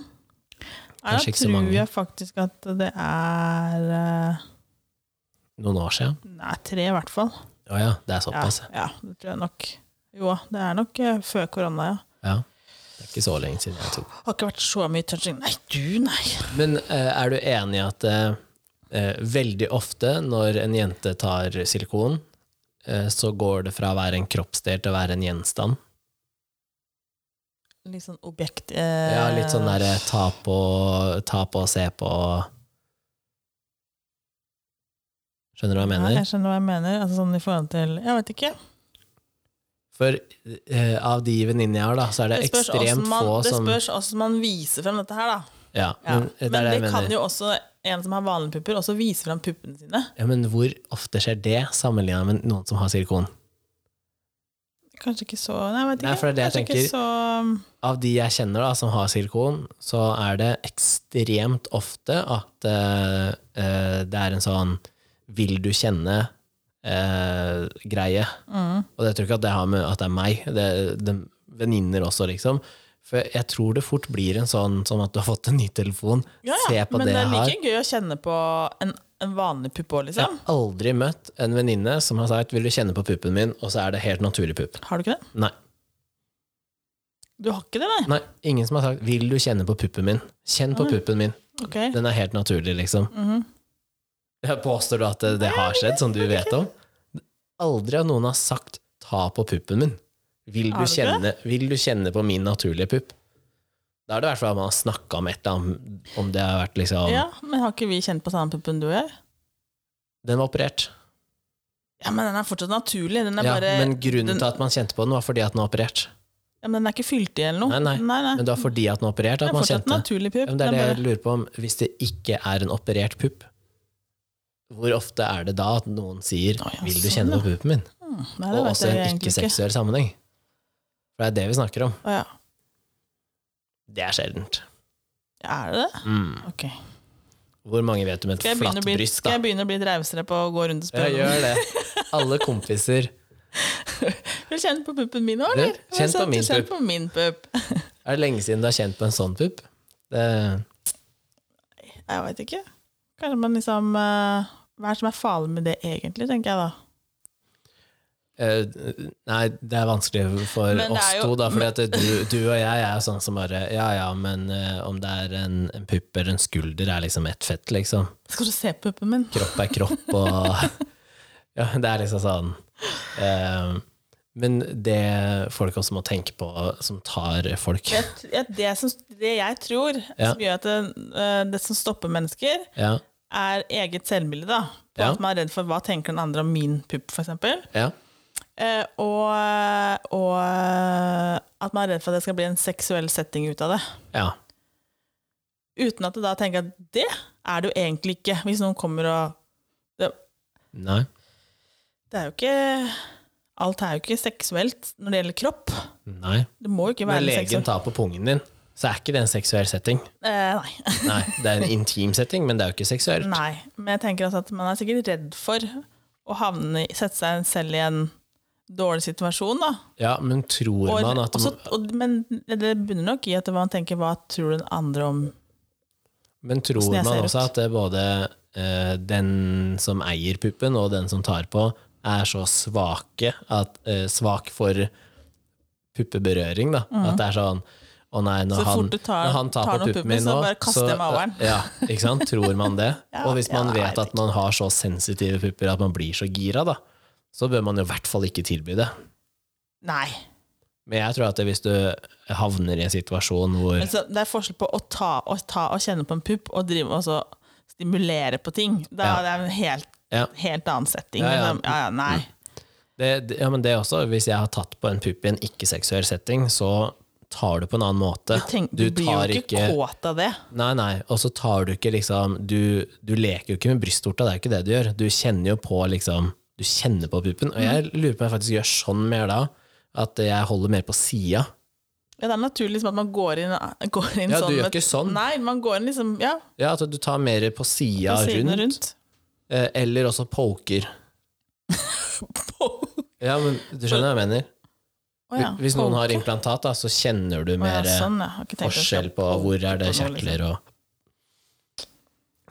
S1: Kanskje
S2: da
S1: ikke så
S2: tror
S1: mange.
S2: jeg faktisk at det er eh,
S1: Noen år siden.
S2: Nei, tre i hvert fall.
S1: Å ja, det er
S2: Ja,
S1: såpass.
S2: ja, det tror jeg nok. Jo, det er nok eh, før korona, ja.
S1: Ja. Det er ikke så lenge siden jeg tok.
S2: Har ikke vært så mye touching. Nei, du, nei!
S1: Men eh, er du enig i at eh, eh, veldig ofte når en jente tar silikon, eh, så går det fra å være en kroppsdel til å være en gjenstand?
S2: Litt sånn objekt eh,
S1: Ja, litt sånn derre ta på, ta på, se på Skjønner du hva jeg
S2: Ja,
S1: mener?
S2: jeg skjønner hva jeg mener. Altså, sånn i forhold til Jeg vet ikke.
S1: For eh, av de venninnene jeg har, da, så er det,
S2: Det spørs
S1: ekstremt
S2: åssen man,
S1: få
S2: det
S1: som
S2: spørs hvordan man viser frem dette her, da.
S1: ja,
S2: Ja.
S1: men, eh, det er
S2: Men
S1: det
S2: det,
S1: jeg
S2: kan
S1: mener.
S2: jo også en som har vanlige pupper, også vise frem puppene sine.
S1: Ja, men hvor ofte skjer det sammenligna med noen som har silikon?
S2: Kanskje ikke så Nei, jeg vet ikke.
S1: Nei, for det er det jeg
S2: Kanskje ikke så um,
S1: av de jeg kjenner da, som har silikon, så er det ekstremt ofte at eh, eh, det er en sånn vil du kjenne-greie.
S2: mm.
S1: Og jeg tror ikke at det har med at det er meg, det, det er venninner også, liksom. For jeg tror det fort blir en sånn som at du har fått en ny telefon.
S2: Ja, ja.
S1: Se på
S2: Men
S1: det
S2: det er
S1: jeg har.
S2: like gøy å kjenne på en, en vanlig pupp òg,
S1: Jeg har
S2: liksom.
S1: aldri møtt en venninne som har sagt 'vil du kjenne på puppen min', og så er det helt naturlig pupp.
S2: Har du ikke det?
S1: Nei.
S2: Du har ikke det, nei?
S1: Nei, ingen som har sagt 'vil du kjenne på puppen min'? Kjenn på
S2: Nei.
S1: puppen min.
S2: Ok.
S1: Den er helt naturlig, liksom.
S2: Mhm.
S1: Jeg påstår du at det, det har skjedd, som du vet om? Aldri har noen har sagt 'ta på puppen min'. Vil du,
S2: Har du
S1: kjenne, vil du kjenne på min naturlige pupp? Da er det i hvert fall at man har snakka om et eller annet, om det har vært liksom
S2: Ja, men har ikke vi kjent på samme puppen du og jeg?
S1: Den var operert.
S2: Ja, men den er fortsatt naturlig. Den er
S1: Ja,
S2: bare
S1: men grunnen
S2: den-
S1: til at man kjente på den, var fordi at den var operert.
S2: Ja, men den er ikke fylt i eller noe.
S1: Nei, nei.
S2: nei,
S1: Men det var fordi at den var operert
S2: Det
S1: at
S2: er
S1: man
S2: fortsatt en
S1: kjente
S2: naturlig pupp.
S1: ja, men Det er
S2: den
S1: det
S2: bare-
S1: jeg lurer på om. Hvis det ikke er en operert pupp, hvor ofte er det da at noen sier
S2: Å, ja,
S1: 'vil du
S2: sånn,
S1: kjenne
S2: ja.
S1: på puppen min'?
S2: Mm, nei, det
S1: Og
S2: vet
S1: også i
S2: jeg
S1: en
S2: egentlig
S1: ikke-seksuell sammenheng. For det er det vi snakker om.
S2: Å, ja.
S1: Det er sjeldent. Mm.
S2: Er det det? Ok.
S1: Hvor mange vet om et
S2: Skal jeg begynne
S1: flatt
S2: å bli,
S1: bryst,
S2: skal
S1: da?
S2: jeg begynne å bli litt rausere på å gå rundt og
S1: Ja,
S2: spørre?
S1: gjør det. Alle kompiser.
S2: Vil du kjenne på puppen min òg,
S1: Du,
S2: eller?
S1: kjenn på
S2: Sånn,
S1: min
S2: kjenn
S1: pupp.
S2: på min pupp.
S1: Er det lenge siden du har kjent på en sånn pupp? Det,
S2: Jeg veit ikke. Kanskje man liksom eh, Hva er det som er farlig med det egentlig, tenker jeg da.
S1: eh, nei, det er vanskelig for
S2: Men det
S1: oss
S2: er jo-
S1: to, da, fordi at du, du og jeg er sånn som bare Ja ja, men eh, om det er en, en pupp eller en skulder, er liksom ett fett, liksom.
S2: Skal du se på puppen min?
S1: kropp er kropp, og ja, det er liksom sånn. Eh, men det folk også må tenke på, som tar folk
S2: Jeg, jeg- det, som, det jeg tror
S1: Ja.
S2: som gjør at det, eh, det som stopper mennesker,
S1: Ja,
S2: er eget selvbilde. da. På
S1: Ja.
S2: At man er redd for hva tenker den andre om min pupp, f.eks.
S1: ja,
S2: Eh, og, og eh, at man er redd for at det skal bli en seksuell setting ut av det.
S1: ja.
S2: Uten at du da tenker at det er det jo egentlig ikke, hvis noen kommer og det,
S1: Nei.
S2: det er jo ikke Alt er jo ikke seksuelt når det gjelder kropp.
S1: Nei.
S2: Det må jo ikke
S1: Når
S2: være
S1: legen
S2: seksuelt.
S1: tar på pungen din, så er ikke det en seksuell setting.
S2: Eh, nei.
S1: Nei, det er en intim setting, men det er jo ikke seksuelt.
S2: nei. Men jeg tenker altså at man er sikkert redd for å havne, i- sette seg selv i en dårlig situasjon, da.
S1: Ja, men tror
S2: Og,
S1: man at
S2: og så- og, men det bunner nok i at man tenker hva tror den andre om
S1: Men tror
S2: Hvordan jeg
S1: man
S2: ser
S1: også
S2: ut.
S1: at det både eh, den som eier puppen og den som tar på, er så svake at, eh, svak for puppeberøring, da? At det er sånn å nei, når
S2: Mhm. Så
S1: han,
S2: fort du tar-
S1: når han tar,
S2: tar
S1: på
S2: noen
S1: puppen
S2: pupper,
S1: min nå eh,
S2: så bare kaster jeg maueren.
S1: Ja, ikke sant? Tror man det?
S2: Ja,
S1: og hvis man
S2: ja, jeg
S1: vet at man har så sensitive pupper at man blir så gira, da, så bør man jo i hvert fall ikke tilby det.
S2: Nei.
S1: Men jeg tror at det, hvis du havner i en situasjon hvor
S2: Men så det er forskjell på å ta, å ta og kjenne på en pupp og drive og så stimulere på ting. Da
S1: Ja.
S2: er det en helt,
S1: Ja.
S2: helt annen setting.
S1: Ja,
S2: Ja,
S1: ja. Mm.
S2: ja. nei.
S1: Det, det- ja, men det også, hvis jeg har tatt på en pupp i en ikke-seksuell setting, så tar du på en annen måte.
S2: Du, tenk, du, blir jo ikke, kåt av det.
S1: Nei, nei, og så tar du ikke liksom Du, du leker jo ikke med brystvorta, det er jo ikke det du gjør. Du kjenner jo på liksom Du kjenner på puppen. Og jeg lurer på om jeg faktisk gjør sånn mer da, at jeg holder mer på sida.
S2: Ja, det er naturlig liksom, at man går inn, går inn
S1: Ja, du
S2: sånn.
S1: gjør
S2: med-
S1: ikke sånn.
S2: Nei, man går inn liksom, ja,
S1: Ja, at du tar mer på sida
S2: på
S1: rundt,
S2: sidene rundt.
S1: eh, eller også poker. Ja, men du skjønner hva jeg mener?
S2: Å ja,
S1: Hvis noen har
S2: poke.
S1: implantat, da, så kjenner du
S2: Å ja,
S1: mer eh,
S2: sånn, ja. Har ikke tenkt at jeg skal
S1: forskjell på hvor er det
S2: poke på noe, liksom.
S1: kjertler og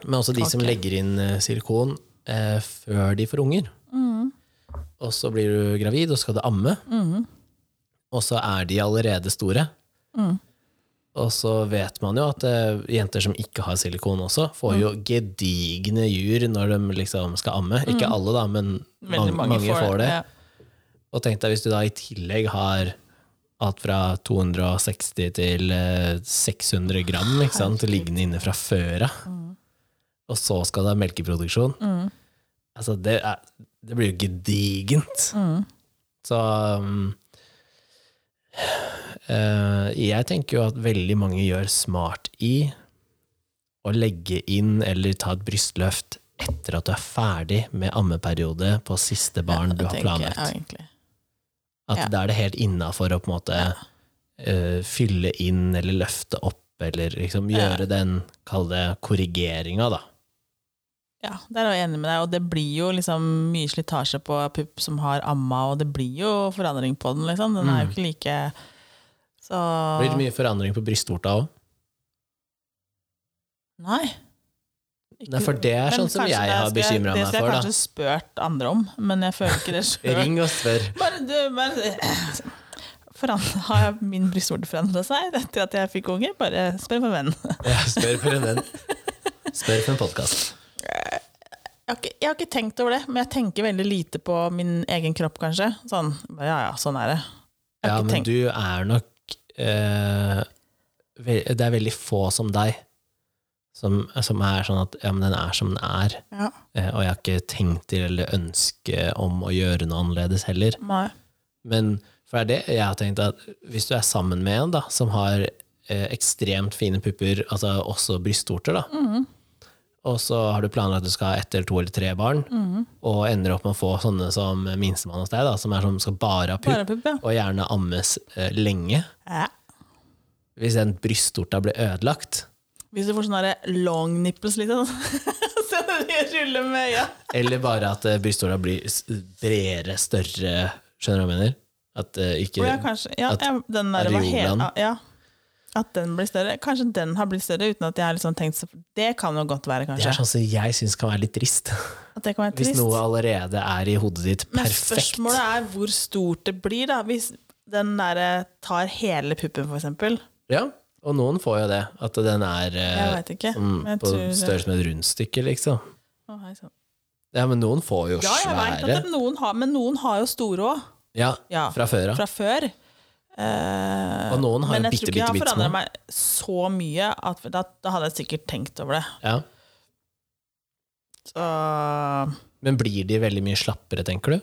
S1: Men også de som
S2: Ok.
S1: legger inn eh, silikon eh, før de får unger.
S2: Mhm.
S1: Og så blir du gravid, og skal du amme,
S2: Mhm.
S1: og så er de allerede store.
S2: Mhm.
S1: Og så vet man jo at eh, jenter som ikke har silikon også, får jo
S2: Mm.
S1: gedigne jur når de liksom skal amme. Ikke alle, da, men mange,
S2: Mm. liksom. Veldig
S1: mange, får det.
S2: Ja.
S1: Og tenk deg hvis du da i tillegg har alt fra 260 til eh, 600 gram ikke sant, liggende inne fra før av,
S2: Mm,
S1: og så skal det ha melkeproduksjon.
S2: Mhm.
S1: Altså, det, er, det blir jo gedigent.
S2: Mhm.
S1: Så um, eh, Jeg tenker jo at veldig mange gjør smart i å legge inn eller ta et brystløft etter at du er ferdig med ammeperiode på siste barn du
S2: mm. Det
S1: har
S2: tenker jeg,
S1: planlagt.
S2: Ja, egentlig.
S1: At
S2: Ja.
S1: da er det helt innafor å på en måte eh, fylle inn eller løfte opp, eller liksom
S2: Ja.
S1: gjøre den, kall det korrigeringa, da.
S2: Ja, der er jeg enig med deg, og det blir jo liksom mye slitasje på pupp som har amma, og det blir jo forandring på den, liksom. Den er jo
S1: Mm.
S2: ikke like Så
S1: Blir det mye forandring på brystvorta òg?
S2: Nei.
S1: Nei, for det er
S2: Men
S1: sånn som
S2: kanskje
S1: jeg
S2: det
S1: har
S2: skal jeg-
S1: bekymra meg
S2: Det skal
S1: for,
S2: jeg
S1: da.
S2: kanskje spurt andre om, men jeg føler ikke det sjøl.
S1: Ring og spør.
S2: Bare du, bare Forandra- Har jeg- min brystvorte forandra seg etter at jeg fikk unge? Bare spør for vennen.
S1: Ja, spør for en venn. Spør for en podkast.
S2: Jeg har, ikke, jeg har ikke tenkt over det, men jeg tenker veldig lite på min egen kropp, kanskje. Sånn, bare, ja ja, sånn er det.
S1: Ja,
S2: Jeg har ikke
S1: men
S2: tenkt,
S1: du er nok eh, ve- Det er veldig få som deg som, som er sånn at ja, men den er som den er.
S2: ja,
S1: Eh, Og jeg har ikke tenkt til eller ønske om å gjøre noe annerledes heller.
S2: nei.
S1: Men for det er det jeg har tenkt at hvis du er sammen med en da, som har eh, ekstremt fine pupper, altså også brystvorter, da,
S2: Mhm.
S1: og så har du planlagt at du skal ha ett eller to eller tre barn,
S2: Mhm.
S1: og ender opp med å få sånne som minstemann hos deg, da, som er sånn som skal bare ha pupp,
S2: Bare pupp, ja.
S1: og gjerne ammes eh, lenge.
S2: ja.
S1: Hvis den brystvorta blir ødelagt,
S2: Hvis du får sånne der long nipples, liksom. Så de ruller med øya.
S1: Eller bare at eh, brystvorta blir s- bredere, større Skjønner du hva jeg mener? At eh, ikke
S2: Og ja, kanskje, ja,
S1: At
S2: ja, den der, var
S1: areolaen-
S2: helt- ja, at den blir større. Kanskje den har blitt større uten at jeg har liksom tenkt så Det kan jo godt være,
S1: Det er
S2: kanskje.
S1: sånn som jeg syns kan være litt trist.
S2: At det kan være
S1: Hvis
S2: trist.
S1: noe allerede er i hodet ditt
S2: Men
S1: perfekt.
S2: spørsmålet er hvor stort det blir, da. Hvis den derre tar hele puppen, for eksempel.
S1: Ja, og noen får jo det. At den er
S2: Jeg
S1: eh,
S2: veit ikke.
S1: som,
S2: Men jeg
S1: på
S2: tror-
S1: størrelse med et rundstykke, liksom.
S2: Å, hei, sånn.
S1: Ja, men noen får jo
S2: Ja, jeg veit
S1: svære.
S2: at det- noen har, men noen har jo store òg.
S1: Ja,
S2: Ja,
S1: fra før av.
S2: fra før. Eh,
S1: Og noen har
S2: men
S1: jo
S2: jeg
S1: bitte,
S2: tror ikke jeg har
S1: bitte, bitte
S2: forandra
S1: små.
S2: meg så mye at da, da hadde jeg sikkert tenkt over det.
S1: Ja.
S2: Så
S1: Men blir de veldig mye slappere, tenker du?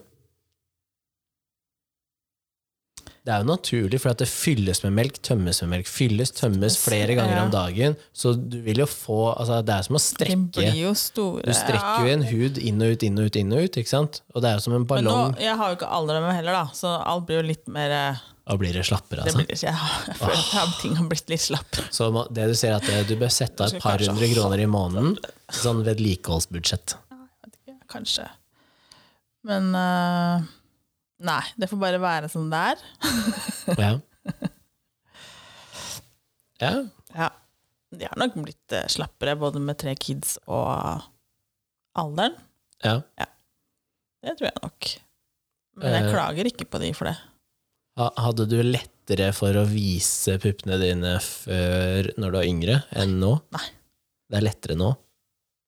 S1: Det er jo naturlig, for at det fylles med melk, tømmes med melk, fylles, tømmes flere ganger
S2: Ja.
S1: om dagen. Så du vil jo få altså, Det er som å
S2: de
S1: strekke.
S2: blir jo store.
S1: Du strekker jo
S2: ja.
S1: en hud inn og ut, inn og ut, inn og ut. ikke sant? Og det er jo som en
S2: Men nå,
S1: ballong.
S2: jeg har jo ikke alder med heller, da, så alt blir jo litt mer eh,
S1: Da blir det slappere,
S2: det
S1: altså.
S2: blir, Jeg har- jeg føler at ting har blitt litt slapp.
S1: Så ma- det du ser er at eh, du bør sette av
S2: Skal
S1: et par
S2: kanskje
S1: hundre kroner i måneden til sånn vedlikeholdsbudsjett.
S2: Kanskje. Men eh, Nei, det får bare være som det er.
S1: Ja. ja.
S2: Ja. De har nok blitt eh, slappere, både med tre kids og alderen.
S1: ja.
S2: Det tror jeg nok. Men jeg
S1: Eh.
S2: klager ikke på de for det.
S1: Ha- Hadde du lettere for å vise puppene dine før når du var yngre, enn nå?
S2: Nei.
S1: Det er lettere nå?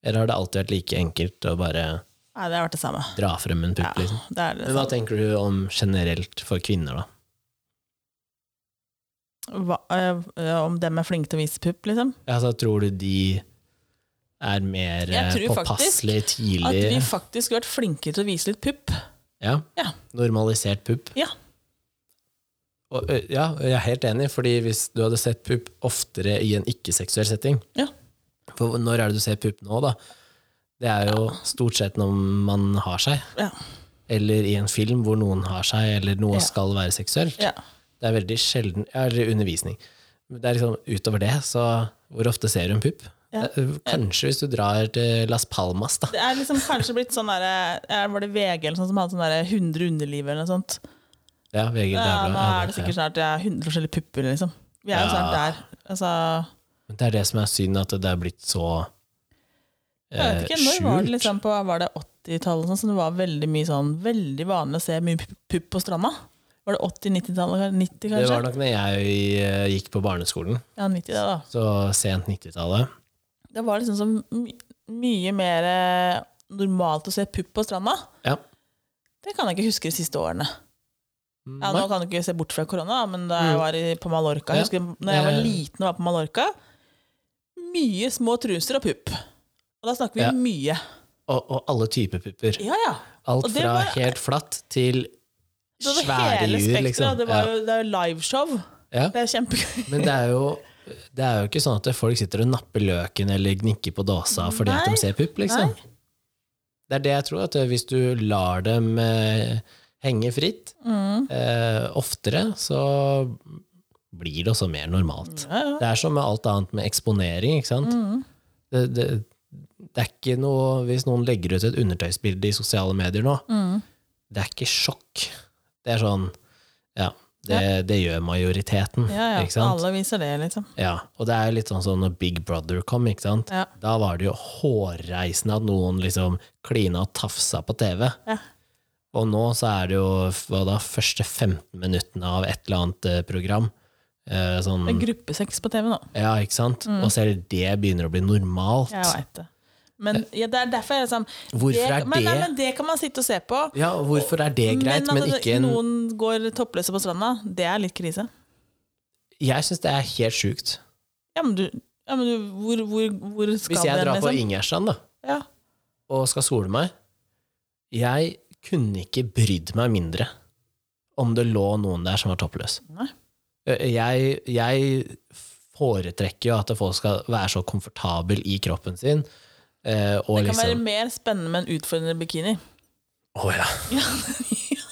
S1: Eller har det alltid vært like enkelt å bare
S2: Nei, det har vært det samme.
S1: dra frem en
S2: Ja,
S1: pupp? Liksom?
S2: det er det
S1: Men hva
S2: samme.
S1: tenker du om generelt for kvinner, da?
S2: Hva, eh, om dem er flinke til å vise pupp, liksom.
S1: Altså, tror du de er mer
S2: Jeg
S1: eh,
S2: tror faktisk
S1: påpasselige
S2: At
S1: tidlig?
S2: vi faktisk har vært flinke til å vise litt pupp.
S1: Ja.
S2: Ja.
S1: Normalisert pupp?
S2: Ja.
S1: Og, ø, ja, jeg er helt enig, fordi hvis du hadde sett pupp oftere i en ikke-seksuell setting
S2: Ja.
S1: For når er det du ser pupp nå, da? Det er jo stort sett når man har seg.
S2: Ja.
S1: eller i en film hvor noen har seg, eller noe
S2: Ja.
S1: skal være seksuelt.
S2: Ja.
S1: Det er veldig sjelden Eller undervisning. Det er liksom utover det, så hvor ofte ser hun pupp?
S2: Ja.
S1: Eh, Kanskje hvis du drar til Las Palmas, da.
S2: Det er liksom kanskje blitt sånn derre eh, Var det VG eller sånn som hadde sånn derre 100 underliv eller noe sånt?
S1: Ja, VG
S2: Ja,
S1: Dagblad,
S2: nå
S1: ja,
S2: er det sikkert snart ja, 100 forskjellige pupper, liksom. Vi er jo
S1: Ja.
S2: snart der. Altså,
S1: Men Det er det som er synd, at det er blitt så eh,
S2: jeg vet ikke, når var det
S1: skjult.
S2: liksom på Var det 80-tallet sånn, så det var veldig mye sånn Veldig vanlig å se mye pupp- pupp på stranda? Var det 80-90-tallet? 90,
S1: Det var
S2: kanskje?
S1: nok når jeg eh, gikk på barneskolen,
S2: Ja, 90 det, da.
S1: så sent 90-tallet.
S2: Det var liksom så my mye mer eh, normalt å se pupp på stranda.
S1: Ja.
S2: Det kan jeg ikke huske de siste årene. Ja, nå
S1: Nei.
S2: kan du ikke se bort fra korona, men da jeg
S1: Mm.
S2: var i, på Mallorca
S1: Ja.
S2: jeg husker, Når jeg var
S1: Eh.
S2: liten og var på Mallorca Mye små truser og pupp. Og da snakker vi
S1: Ja.
S2: mye.
S1: Og, og alle typer pupper.
S2: Ja, ja.
S1: Alt
S2: og det
S1: fra
S2: var-
S1: helt flatt til
S2: Det var
S1: svære
S2: hele
S1: jur,
S2: spekteret.
S1: liksom.
S2: Det,
S1: Ja.
S2: var jo, det er jo liveshow.
S1: Ja.
S2: Det er kjempegøy.
S1: Men det er, jo, det er jo ikke sånn at folk sitter og napper løken eller gnikker på dåsa fordi at
S2: Nei.
S1: de ser pupp, liksom. Det er det jeg tror, at hvis du lar dem eh, henge fritt
S2: Mm.
S1: eh, oftere, så blir det også mer normalt.
S2: Ja, ja.
S1: Det er som med alt annet med eksponering, ikke sant?
S2: Mm.
S1: Det, det, det er ikke noe Hvis noen legger ut et undertøysbilde i sosiale medier nå,
S2: Mm.
S1: det er ikke sjokk. Det er sånn Ja, det, det gjør majoriteten,
S2: ja, ja.
S1: ikke sant?
S2: Alle viser det, liksom.
S1: Ja, og det er jo litt sånn som når Big Brother kom, ikke sant?
S2: Ja.
S1: Da var det jo hårreisende at noen liksom klina og tafsa på TV.
S2: Ja.
S1: Og nå så er det jo hva da, første 15 minuttene av et eller annet eh, program. Eh, sånn,
S2: Det er gruppesex på TV nå.
S1: ja, ikke sant?
S2: Mm.
S1: Og selv det begynner å bli normalt.
S2: Jeg veit det. Men ja, det er derfor jeg liksom
S1: Hvorfor
S2: det,
S1: er
S2: Men, nei,
S1: det-
S2: men det kan man sitte og se på.
S1: Ja, og hvorfor er det greit, men,
S2: at det-
S1: ikke en
S2: noen går toppløse på stranda, det er litt krise.
S1: Jeg syns det er helt sjukt.
S2: Ja, men du, ja, men du hvor, hvor, hvor skal
S1: Hvis jeg
S2: den,
S1: drar på
S2: liksom?
S1: Ingerstrand da,
S2: Ja.
S1: og skal sole meg Jeg kunne ikke brydd meg mindre om det lå noen der som var toppløs. Eh,
S2: Nei.
S1: Jeg, jeg foretrekker jo at folk skal være så komfortabel i kroppen sin. eh, Og
S2: Det kan være
S1: liksom
S2: mer spennende med en utfordrende bikini.
S1: Å ja.
S2: Ja.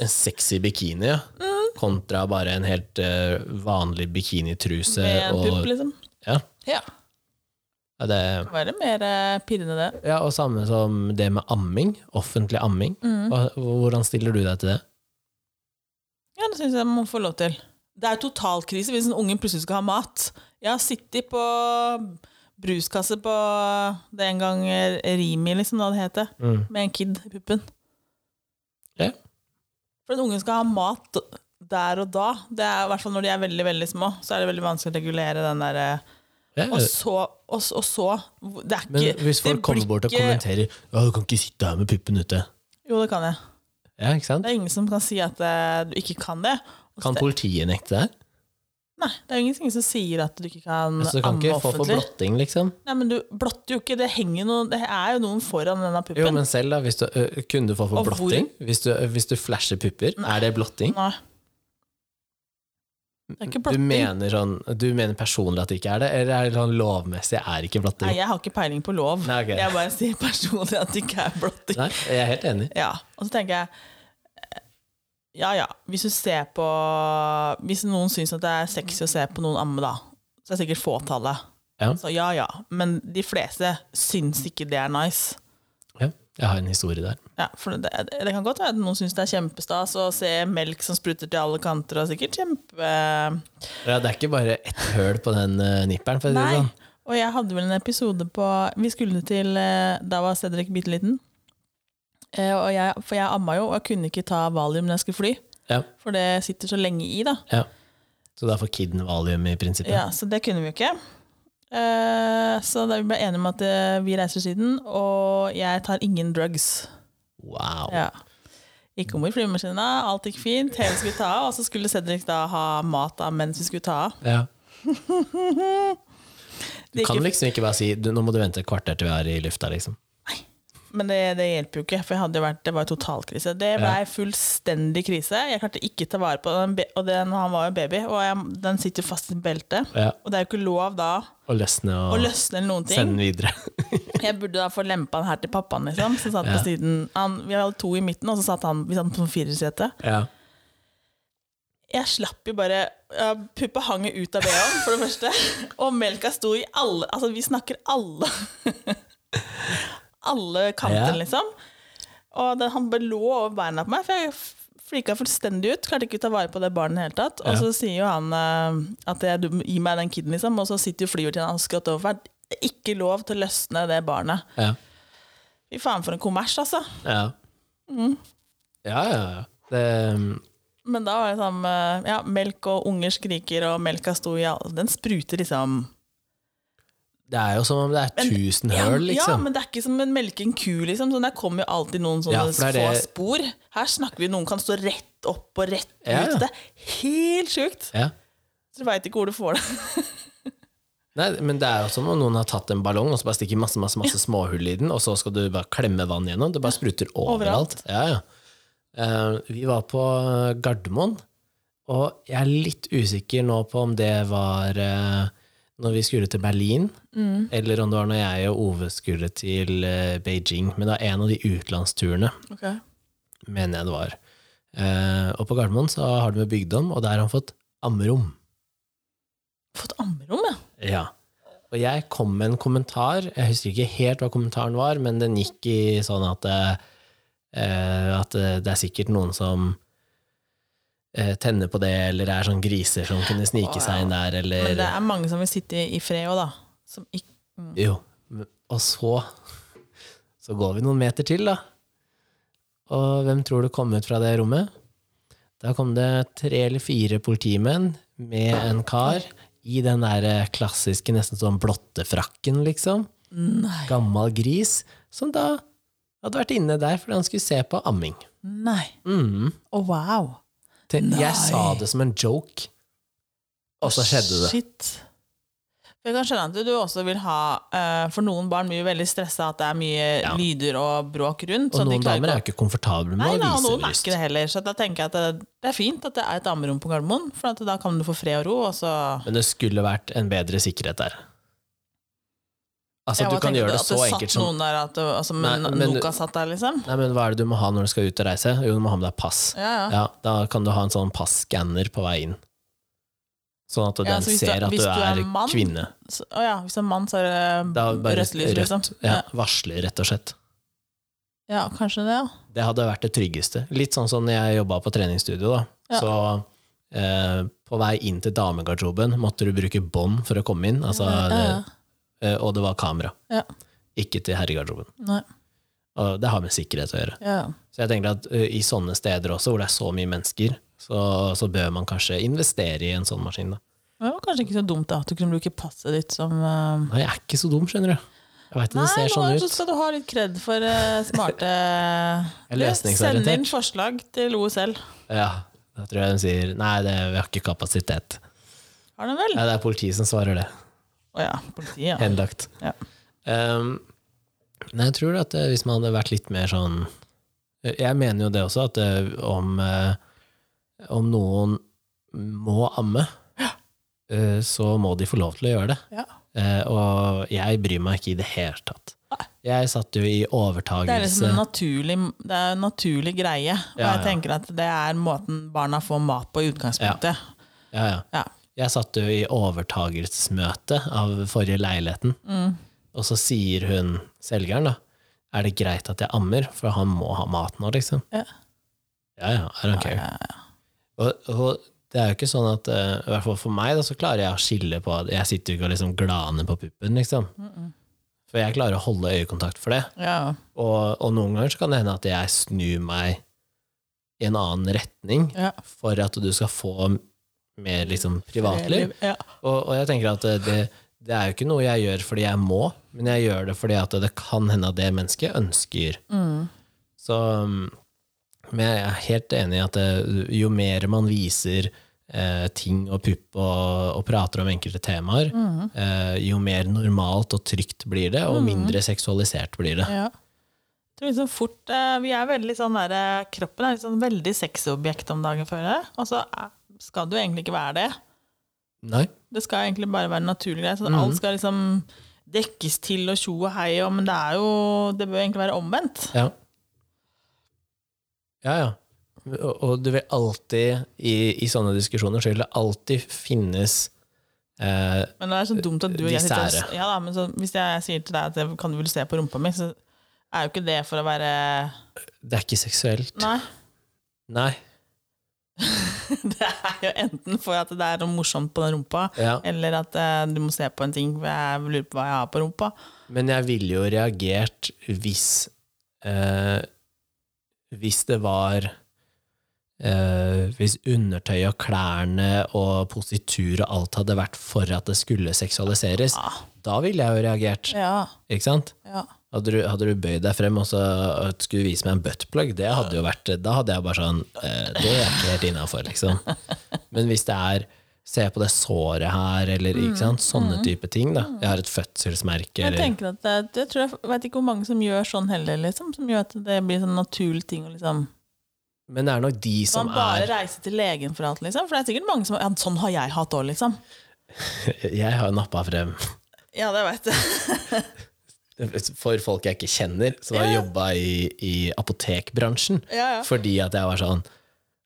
S1: En sexy bikini, ja.
S2: Mm.
S1: Kontra bare en helt eh, vanlig bikinitruse.
S2: Med en
S1: og,
S2: pupp, liksom.
S1: ja.
S2: Ja.
S1: Ja, det,
S2: Det kan være mer eh, pirrende, det.
S1: ja, og samme som det med amming. Offentlig amming.
S2: Mm.
S1: Hva, hvordan stiller du deg til det?
S2: Ja, det syns jeg man får lov til. Det er totalkrise hvis en unge plutselig skal ha mat. Jeg har sittet på bruskasse på det en gang Rimi, liksom, hva det het, det,
S1: Mm.
S2: med en kid i puppen.
S1: Ja.
S2: For en unge skal ha mat der og da. Det er i hvert fall når de er veldig veldig små, så er det veldig vanskelig å regulere den derre
S1: Ja,
S2: Og så og, så- og så Det er ikke
S1: Eh. men hvis folk
S2: det blir
S1: kommer bort og
S2: ikke-
S1: kommenterer Ja, du kan ikke sitte her med puppen ute.
S2: Jo, det kan jeg.
S1: Ja, ikke sant?
S2: Det er ingen som kan si at eh, du ikke kan det. Og
S1: Kan
S2: så-
S1: politiet nekte deg?
S2: Nei, det er jo ingenting som sier at du ikke kan
S1: Altså, du kan
S2: amme
S1: ikke få for
S2: offentlig.
S1: blotting, liksom.
S2: Nei, men du blotter jo ikke. Det henger noen Det er jo noen foran denne
S1: Jo,
S2: puppen.
S1: men selv da, hvis du, ø, kunne du få for
S2: Og hvor-
S1: blotting? Hvis du, hvis du flasher pupper, er det blotting?
S2: Nei. Det er ikke
S1: Du
S2: blotting.
S1: mener, sånn, du mener personlig at det ikke er det, eller er det sånn lovmessig er ikke
S2: Nei,
S1: blotting?
S2: jeg har ikke peiling på lov.
S1: Nei, ok.
S2: Jeg bare sier personlig at det ikke er blotting.
S1: Nei, jeg er helt enig.
S2: Ja, og så tenker jeg eh, Ja ja, hvis du ser på Hvis noen syns at det er sexy å se på noen amme, da, så er det sikkert fåtallet.
S1: Ja.
S2: Så ja ja. Men de fleste syns ikke det er nice.
S1: Ja, jeg har en historie der.
S2: Ja, for det, det, det kan godt være at noen syns det er kjempestas å se melk som spruter til alle kanter, og sikkert kjempe...
S1: Ja, det er ikke bare ett høl på den ø, nipperen, for å si det
S2: Nei.
S1: sånn.
S2: Og jeg hadde vel en episode på Vi skulle til eh, Da var Cedric bitte liten. Eh, og jeg, for jeg amma jo, og jeg kunne ikke ta valium når jeg skulle fly.
S1: Ja.
S2: For det sitter så lenge i, da.
S1: Ja. Så da får kiden valium i prinsippet?
S2: Ja, så det kunne vi jo ikke. Eh, så da vi ble enige om at eh, vi reiser Syden, og jeg tar ingen drugs.
S1: Wow.
S2: Ja. Gikk om i flymaskina, alt gikk fint, TV skulle ta av, og så skulle Cedric da ha mat da, mens vi skulle ta av.
S1: Ja. Du
S2: Det
S1: kan
S2: gikk jo-
S1: liksom ikke bare si du, nå må du vente et kvarter til vi er i lufta, liksom.
S2: Men det, det hjelper jo ikke, for jeg hadde jo vært, det var jo totalkrise. Det blei fullstendig krise. Jeg klarte ikke ta vare på den, be- og den, han var jo baby, og jeg, den sitter jo fast i beltet.
S1: Ja.
S2: Og det er jo ikke lov da
S1: Og løsne
S2: å
S1: og
S2: løsne eller noen ting.
S1: sende den videre.
S2: Jeg burde da få lempa den her til pappaen, liksom. Som satt på
S1: Ja.
S2: siden. Han, vi hadde to i midten, og så satt han, vi satt på firersete.
S1: Ja.
S2: Jeg slapp jo bare ja, Puppa hang jo ut av BH-en, for det første. Og melka sto i alle Altså, vi snakker alle Alle kanter,
S1: Ja.
S2: liksom. Og den, han bare lå over beina på meg, for jeg f- flika fullstendig ut. Klarte ikke å ta vare på det barnet i det hele tatt. Og
S1: Ja.
S2: så sier jo han eh, at jeg, du må gi meg den kiden, liksom. Og så sitter jo flyvertinna hans skrått overfor. Det er Ikke lov til å løsne det barnet.
S1: Ja.
S2: Fy faen for en kommers, altså.
S1: Ja. Mm. ja, ja, ja. Det,
S2: Men da var det sånn eh, Ja, melk og unger skriker, og melka sto i alle Den spruter liksom
S1: det er jo som om det er
S2: Men-
S1: tusen
S2: Ja,
S1: høl,
S2: Ja,
S1: liksom.
S2: men det er ikke som en melke en ku, liksom. Sånn, der kommer jo alltid noen sånne
S1: Ja, for det er
S2: få
S1: det-
S2: spor. Her snakker vi noen kan stå rett opp og rett
S1: Ja.
S2: ut. Det er helt sjukt!
S1: Ja.
S2: Så du veit ikke hvor du får det.
S1: Nei, men det er jo som om noen har tatt en ballong og så bare stikker masse masse, masse småhull i den, og så skal du bare klemme vann gjennom. Det bare spruter overalt.
S2: Overalt.
S1: Ja, ja. Eh, vi var på Gardermoen, og jeg er litt usikker nå på om det var eh, når vi skulle til Berlin, eller om det var når jeg og Ove skulle til eh, Beijing. Men det var en av de utenlandsturene, mener jeg det var. Eh, og på Gardermoen så har de med bygdom, og der har han fått ammerom.
S2: Fått ammerom, ja.
S1: Ja. Og jeg kom med en kommentar, jeg husker ikke helt hva kommentaren var, men den gikk i sånn at, eh, at eh, det er sikkert noen som eh, tenner på det, eller er sånn griser som kunne snike seg inn der, eller
S2: Men det er mange som vil sitte i fred òg, da. Som ikke
S1: Jo. Og så Så går vi noen meter til, da. Og hvem tror du kom ut fra det rommet? Da kom det tre eller fire politimenn med en kar i den der eh, klassiske, nesten sånn blottefrakken, liksom.
S2: Nei.
S1: Gammal gris, som da hadde vært inne der fordi han skulle se på amming.
S2: Nei.
S1: Mm.
S2: Å, wow.
S1: Te-
S2: Nei.
S1: Jeg sa det som en joke, og så skjedde det.
S2: Shit. Jeg kan skjønne at du også vil ha eh, For noen barn blir jo veldig stressa at det er mye
S1: Ja.
S2: lyder og bråk rundt.
S1: Og
S2: så de
S1: noen
S2: klarer sånn ikke
S1: damer
S2: å-
S1: er jo ikke komfortable
S2: Nei,
S1: med
S2: da,
S1: å
S2: og
S1: vise
S2: noen er
S1: bryst.
S2: ikke det heller, så da tenker jeg at det, det er fint at det er et ammerom på Gardermoen, for at da kan du få fred og ro, og så
S1: Men det skulle vært en bedre sikkerhet der. Altså,
S2: Jeg
S1: du
S2: bare
S1: kan
S2: tenker
S1: gjøre det
S2: at
S1: så
S2: det
S1: enkelt
S2: satt
S1: som
S2: noen der, at det, altså, men,
S1: Nei, men-
S2: Noka satt der, liksom.
S1: Nei, men Hva er det du må ha når du skal ut og reise? Jo, du må ha med deg pass. Ja.
S2: Ja, ja.
S1: Da kan du ha en sånn passskanner på vei inn. Sånn at den
S2: Ja, så hvis du-
S1: ser at
S2: hvis
S1: du
S2: du
S1: er,
S2: er mann,
S1: kvinne.
S2: Så, å ja, hvis det er mann, så er det
S1: Da er det bare
S2: rødt lys,
S1: rødt.
S2: liksom.
S1: Ja,
S2: Ja.
S1: varsler, rett og slett.
S2: ja, kanskje det, ja.
S1: Det hadde vært det tryggeste. Litt sånn som når jeg jobba på treningsstudio. da.
S2: Ja.
S1: Så eh, på vei inn til damegarderoben måtte du bruke bånd for å komme inn, altså,
S2: ja, ja.
S1: eh, og det var kamera.
S2: Ja.
S1: Ikke til herregarderoben.
S2: Nei.
S1: Og det har med sikkerhet å gjøre.
S2: Ja.
S1: Så jeg tenker at ø, i sånne steder også, hvor det er så mye mennesker, så, så bør man kanskje investere i en sånn maskin. Da.
S2: Det var kanskje ikke så dumt da, at du kunne bruke passet ditt som eh,
S1: Nei, jeg er ikke så dum, skjønner du. Jeg vet at
S2: Nei,
S1: det ser
S2: nå
S1: sånn
S2: så
S1: ut.
S2: skal du ha litt kred for eh, smarte
S1: Jeg er
S2: Du,
S1: løsningsorientert.
S2: Send inn forslag til OSL.
S1: Ja, da tror jeg hun sier nei, det, vi har ikke kapasitet.
S2: Har den vel?
S1: Nei, det er politiet som svarer det.
S2: Å ja. Politiet, ja.
S1: Henlagt.
S2: Ja.
S1: Um, nei, jeg tror at ø, hvis man hadde vært litt mer sånn Jeg mener jo det også, at ø, om, ø, om noen må amme, ø, så må de få lov til å gjøre det.
S2: ja.
S1: Eh, og jeg bryr meg ikke i det hele tatt. Jeg satt jo i
S2: Det er liksom
S1: overtagelse.
S2: en naturlig, det er en naturlig greie. Og
S1: Ja,
S2: jeg
S1: ja.
S2: tenker at det er måten barna får mat på i utgangspunktet.
S1: Ja, ja.
S2: Ja.
S1: Jeg satt jo i overtagelsesmøte av forrige leiligheten,
S2: Mm,
S1: og så sier hun selgeren, da, er det greit at jeg ammer, for han må ha mat nå, liksom.
S2: Ja.
S1: Ja, ja, I don't care.
S2: ja,
S1: Og, og det er jo ikke sånn at, eh, i hvert fall for meg, da, så klarer jeg å skille på at jeg sitter jo ikke og liksom glaner på puppen, liksom. For jeg klarer å holde øyekontakt for det.
S2: mm, Ja.
S1: Og, og noen ganger så kan det hende at jeg snur meg i en annen retning
S2: Ja.
S1: for at du skal få mer liksom, privatliv.
S2: Ja.
S1: Og, og jeg tenker at det, det er jo ikke noe jeg gjør fordi jeg må, men jeg gjør det fordi at det kan hende at det mennesket ønsker.
S2: Mm.
S1: Så, um, men jeg er helt enig i at det, jo mer man viser eh, ting og pupp og, og prater om enkelte temaer,
S2: mm.
S1: eh, jo mer normalt og trygt blir det, og mindre seksualisert blir det.
S2: ja. Jeg tror liksom fort eh, Vi er veldig sånn der eh, Kroppen er litt sånn veldig sexobjekt om dagen, føler jeg. Og så eh, skal det jo egentlig ikke være det.
S1: Nei? Mm.
S2: Det skal egentlig bare være en naturlig greie. Så alt skal liksom dekkes til og tjo og hei og Men det er jo Det bør egentlig være omvendt.
S1: Ja. Ja, ja. Og, og du vil alltid, i, i sånne diskusjoner, så vil det alltid finnes eh,
S2: Men det er så dumt at du og
S1: De
S2: jeg sitter og,
S1: sære.
S2: ja, da, men så, Hvis jeg sier til deg at jeg kan du vel se på rumpa mi, så er jo ikke det for å være
S1: Det er ikke seksuelt.
S2: Nei.
S1: Nei.
S2: Det er jo enten for at det er noe morsomt på den rumpa,
S1: Ja.
S2: eller at eh, du må se på en ting for jeg lurer på hva jeg har på rumpa.
S1: Men jeg ville jo reagert hvis eh, Hvis det var eh, Hvis undertøy og klærne og positur og alt hadde vært for at det skulle seksualiseres,
S2: Ja.
S1: da ville jeg jo reagert.
S2: Ja,
S1: Ikke sant?
S2: ja.
S1: Hadde du, hadde du bøyd deg frem og så og skulle vise meg en buttplug, det hadde jo vært Da hadde jeg bare sånn eh, Det er ikke helt innafor, liksom. Men hvis det er Se på det såret her, eller
S2: Mm,
S1: ikke sant? sånne type ting. da Jeg har et fødselsmerke,
S2: Jeg
S1: eller
S2: tenker at det, det tror jeg, jeg vet ikke hvor mange som gjør sånn heller, liksom. Som gjør at det blir sånn naturlig ting. å Liksom.
S1: Men det er nok de som
S2: Man bare
S1: er
S2: reiser til legen for alt, liksom. For det er sikkert mange som Ja, sånn har jeg hatt òg, liksom.
S1: Jeg har nappa frem
S2: Ja, det veit jeg.
S1: for folk jeg ikke kjenner, som har
S2: Ja.
S1: jobba i, i apotekbransjen,
S2: Ja, ja.
S1: fordi at jeg var sånn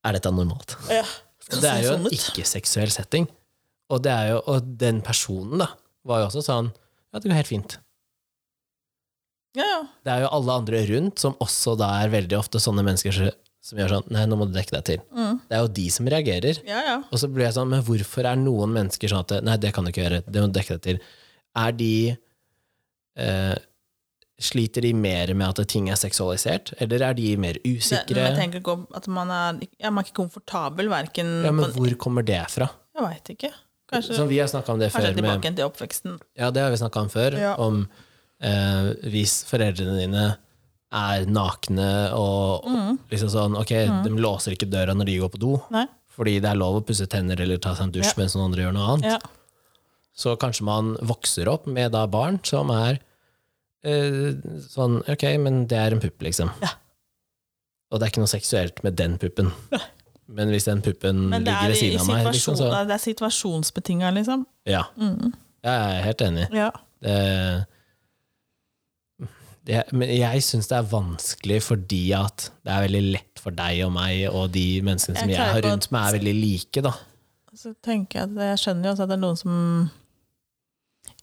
S1: Er dette normalt?
S2: Ja.
S1: Det er jo
S2: sånn
S1: en
S2: ut.
S1: ikke-seksuell setting. Og, det er jo, og den personen da, var jo også sånn Ja, det går helt fint.
S2: Ja, ja.
S1: Det er jo alle andre rundt som også da er veldig ofte sånne mennesker som- som gjør sånn Nei, nå må du dekke deg til.
S2: Mm.
S1: Det er jo de som reagerer.
S2: ja, ja.
S1: Og så blir jeg sånn Men hvorfor er noen mennesker sånn at Nei, det kan du ikke gjøre. Det må du dekke deg til. Er de eh, Sliter de mer med at ting er seksualisert, eller er de mer
S2: Det, men jeg
S1: usikre?
S2: tenker ikke om at man er, ja, man er ikke komfortabel verken
S1: Ja, men hvor kommer det fra?
S2: Jeg veit ikke. Kanskje,
S1: Som vi har snakka om det
S2: kanskje
S1: før. med-
S2: tilbake igjen til oppveksten.
S1: Ja, det har vi snakka om før.
S2: Ja.
S1: Om eh, hvis foreldrene dine er nakne og
S2: Mm,
S1: liksom sånn Ok, de låser ikke døra når de går på do,
S2: Mhm. Nei.
S1: fordi det er lov å pusse tenner eller ta seg en dusj
S2: Ja.
S1: mens noen andre gjør noe annet.
S2: Ja.
S1: Så kanskje man vokser opp med da barn som er eh, sånn Ok, men det er en pupp, liksom.
S2: Ja.
S1: Og det er ikke noe seksuelt med den puppen. Men hvis den puppen
S2: Men det
S1: ligger
S2: er,
S1: ved
S2: i, i
S1: siden av meg, liksom,
S2: situasjon,
S1: så
S2: det er situasjonsbetinga, liksom.
S1: Ja,
S2: Mm.
S1: jeg er helt enig.
S2: Ja.
S1: Det, Eh, det, men jeg syns det er vanskelig fordi at det er veldig lett for deg og meg og de menneskene som jeg,
S2: Jeg klarer
S1: har
S2: på
S1: rundt meg, er veldig like, da.
S2: Så tenker jeg at jeg skjønner jo også at det er noen som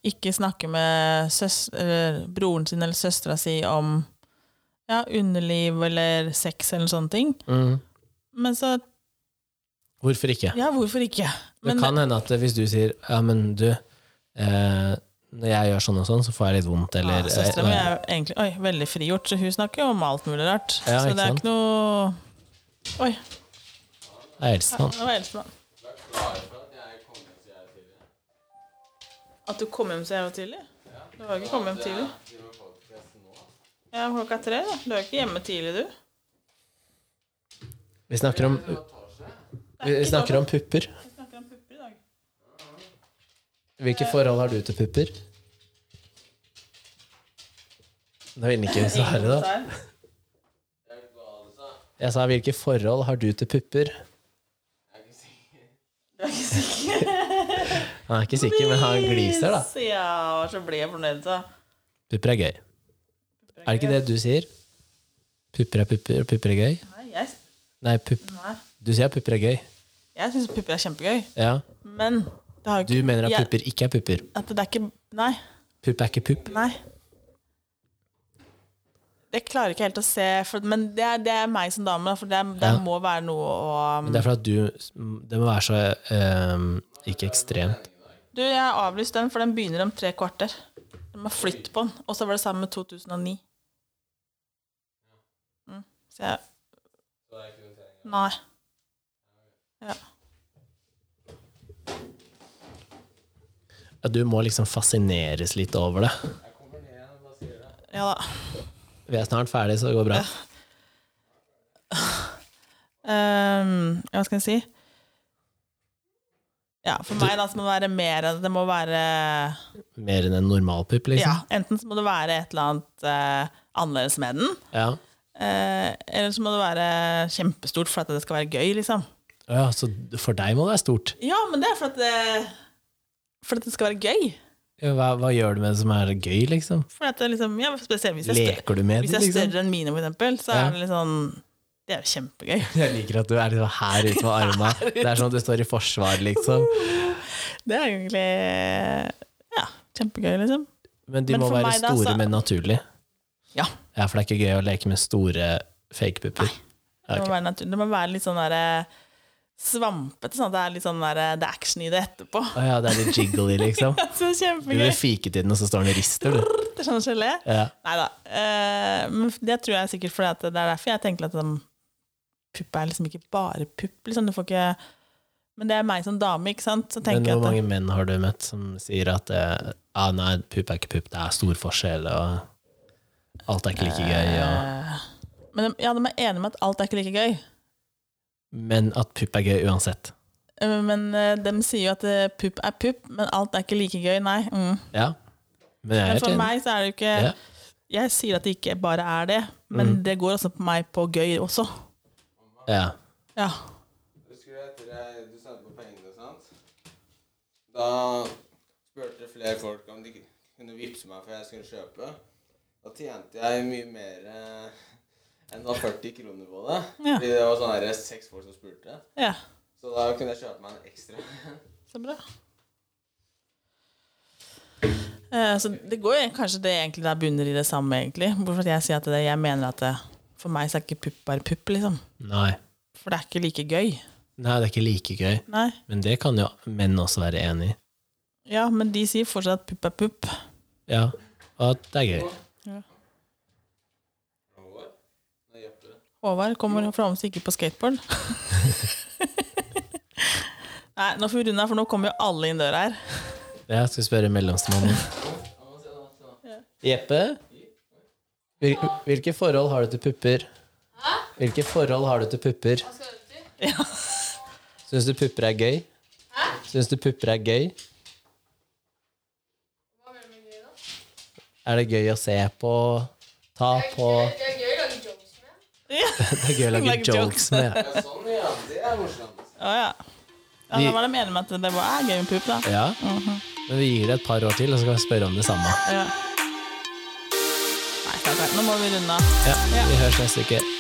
S2: ikke snakker med søs- eller broren sin eller søstera si om ja, underliv eller sex eller sånne ting. Men så
S1: Hvorfor ikke?
S2: Ja, hvorfor ikke? Men
S1: det kan hende at hvis du sier ja, men du, eh, når jeg gjør sånn og sånn, så får jeg litt vondt,
S2: ja,
S1: eller eh,
S2: søstera mi er jo egentlig oi, veldig frigjort, så hun snakker jo om alt mulig rart.
S1: Ja,
S2: så
S1: ikke
S2: det er
S1: sant?
S2: ikke noe Oi,
S1: Jeg er eldstemann.
S2: det var Elsemann. At du kom hjem så jævla tidlig? Du har jo ikke kommet hjem tidlig? Ja, klokka er tre, da. Du er ikke hjemme tidlig, du.
S1: Vi snakker om vi snakker om pupper.
S2: snakker om pupper i dag.
S1: Hvilke forhold har du til pupper? Da vil den ikke svare, da. Jeg sa hvilke forhold har du til pupper? Han er ikke sikker, men han gliser, da.
S2: Ja, og så blir jeg fornøyd, da.
S1: Pupper er gøy. Er det ikke det du sier? Pupper er pupper, og pupper er gøy?
S2: Nei, jeg,
S1: Nei, pupp.
S2: nei.
S1: du sier pupper er gøy.
S2: jeg syns pupper er kjempegøy,
S1: Ja.
S2: men det har jo
S1: Du
S2: ikke
S1: mener at
S2: jeg-
S1: pupper ikke er pupper.
S2: At det er ikke Nei.
S1: Pupp er ikke pupp.
S2: nei. Jeg klarer ikke helt å se, for, men det er, det er meg som dame, da, for det, er, det
S1: Ja.
S2: må være noe å
S1: Men det er for at du Det må være så ehm, ikke ekstremt.
S2: Du, jeg har avlyst den, for den begynner om tre kvarter. De har flytt på den. Og så var det sammen med 2009. Mm, så jeg Nei. Ja.
S1: Ja, du må liksom fascineres litt over det.
S2: ja da.
S1: Vi er snart ferdig, så det går bra.
S2: Ehm, ja, hva skal jeg si? Ja, for meg da, så må det være mer enn Det må være
S1: Mer enn en normal pupp, liksom.
S2: Ja, enten så må det være et eller annet eh, annerledes med den,
S1: Ja.
S2: eh, eller så må det være kjempestort for at det skal være gøy, liksom.
S1: ja, så for deg må det være stort.
S2: eh, Ja, men det er for at det, for at det skal være gøy.
S1: Hva, hva gjør du med det som er gøy, liksom?
S2: For at det liksom, ja, spesielt hvis jeg, er større,
S1: Leker du med
S2: hvis
S1: det,
S2: jeg er
S1: liksom?
S2: større enn mine, for eksempel, så
S1: Ja.
S2: er det litt sånn Det er jo kjempegøy.
S1: Jeg liker at du er liksom her ute med armene. Det er sånn at du står i forsvar, liksom.
S2: Det er egentlig Ja, kjempegøy, liksom.
S1: Men de
S2: Men
S1: må
S2: for
S1: være
S2: meg da,
S1: store,
S2: så-
S1: men naturlig.
S2: Ja.
S1: ja. For det er ikke gøy å leke med store fakepupper. Ok.
S2: Det, må være natur- det må være litt sånn derre svampete, sånn at det er litt sånn derre Det er action i det etterpå.
S1: Å ja, det er litt jiggly, liksom.
S2: Så
S1: Du
S2: kjempegøy.
S1: vil fike til den, og så står den og rister, du.
S2: Det er sånn gelé.
S1: Ja.
S2: Nei da. Eh, men det tror jeg sikkert fordi at det er derfor jeg tenker at sånn, pupp er liksom ikke bare pupp. Liksom. Du får ikke Men det er meg som dame, ikke sant? Så
S1: Men
S2: tenker jeg
S1: hvor
S2: at
S1: mange menn har du møtt som sier at eh, ah, nei, pupp er ikke pupp, det er stor forskjell, og alt er ikke like gøy, og
S2: Eh, Men de- ja, de er enige med at alt er ikke like gøy.
S1: Men at pupp er gøy uansett.
S2: Eh, Men eh, de sier jo at eh, pupp er pupp, men alt er ikke like gøy, nei. Mm.
S1: Ja. Men jeg er
S2: Men
S1: helt
S2: for
S1: enig.
S2: meg eh, så er det jo ikke
S1: Ja. Mm.
S2: Jeg sier at det ikke bare er det, men det går også på meg på gøy også.
S1: Ja.
S2: Ja.
S3: Husker du etter jeg, du sendte på pengene, sant? Da spurte flere folk om de kunne vippse meg for jeg skulle kjøpe. Da tjente jeg mye mer eh, enn da 40 kroner på det.
S2: Ja.
S3: Fordi det var sånn her seks folk som spurte.
S2: ja.
S3: Så da kunne jeg kjøpe meg en ekstra.
S2: Så bra. Eh, Så det går jo kanskje det egentlig der bunner i det samme, egentlig. Hvorfor at jeg sier at det, jeg mener at det, for meg så er ikke pupp bare pupp, liksom.
S1: Nei.
S2: For det er ikke like gøy.
S1: Nei, det er ikke like gøy.
S2: Nei.
S1: Men det kan jo menn også være enig i.
S2: Ja, men de sier fortsatt at pupp er pupp.
S1: Ja. Og at det er gøy.
S3: Nei, hjelper det.
S2: Håvard kommer fra om ikke på skateboard. Nei, nå får vi runde her, for nå kommer jo alle inn døra her.
S1: Jeg skal spørre mellomstemannen. Jeppe? Hvil- Hvilke forhold har du til pupper? Hvilke forhold har du til pupper?
S2: Ja.
S1: Syns du pupper er gøy? Syns du pupper er gøy? Er det gøy å se på? Ta på?
S4: Det er gøy å lage jokes med.
S1: Det er gøy å lage
S2: Lage
S1: jokes
S2: jokes.
S1: med.
S3: Ja, sånn, ja. Det er morsomt.
S2: Å ja. Ja, Da var de enige med at det var gøy med pupp, da.
S1: Ja. Men vi gir det et par år til, og så kan vi spørre om det samme.
S2: Ja. Nei, stakkar. Nå må vi runde av.
S1: Ja, Vi høres neste uke.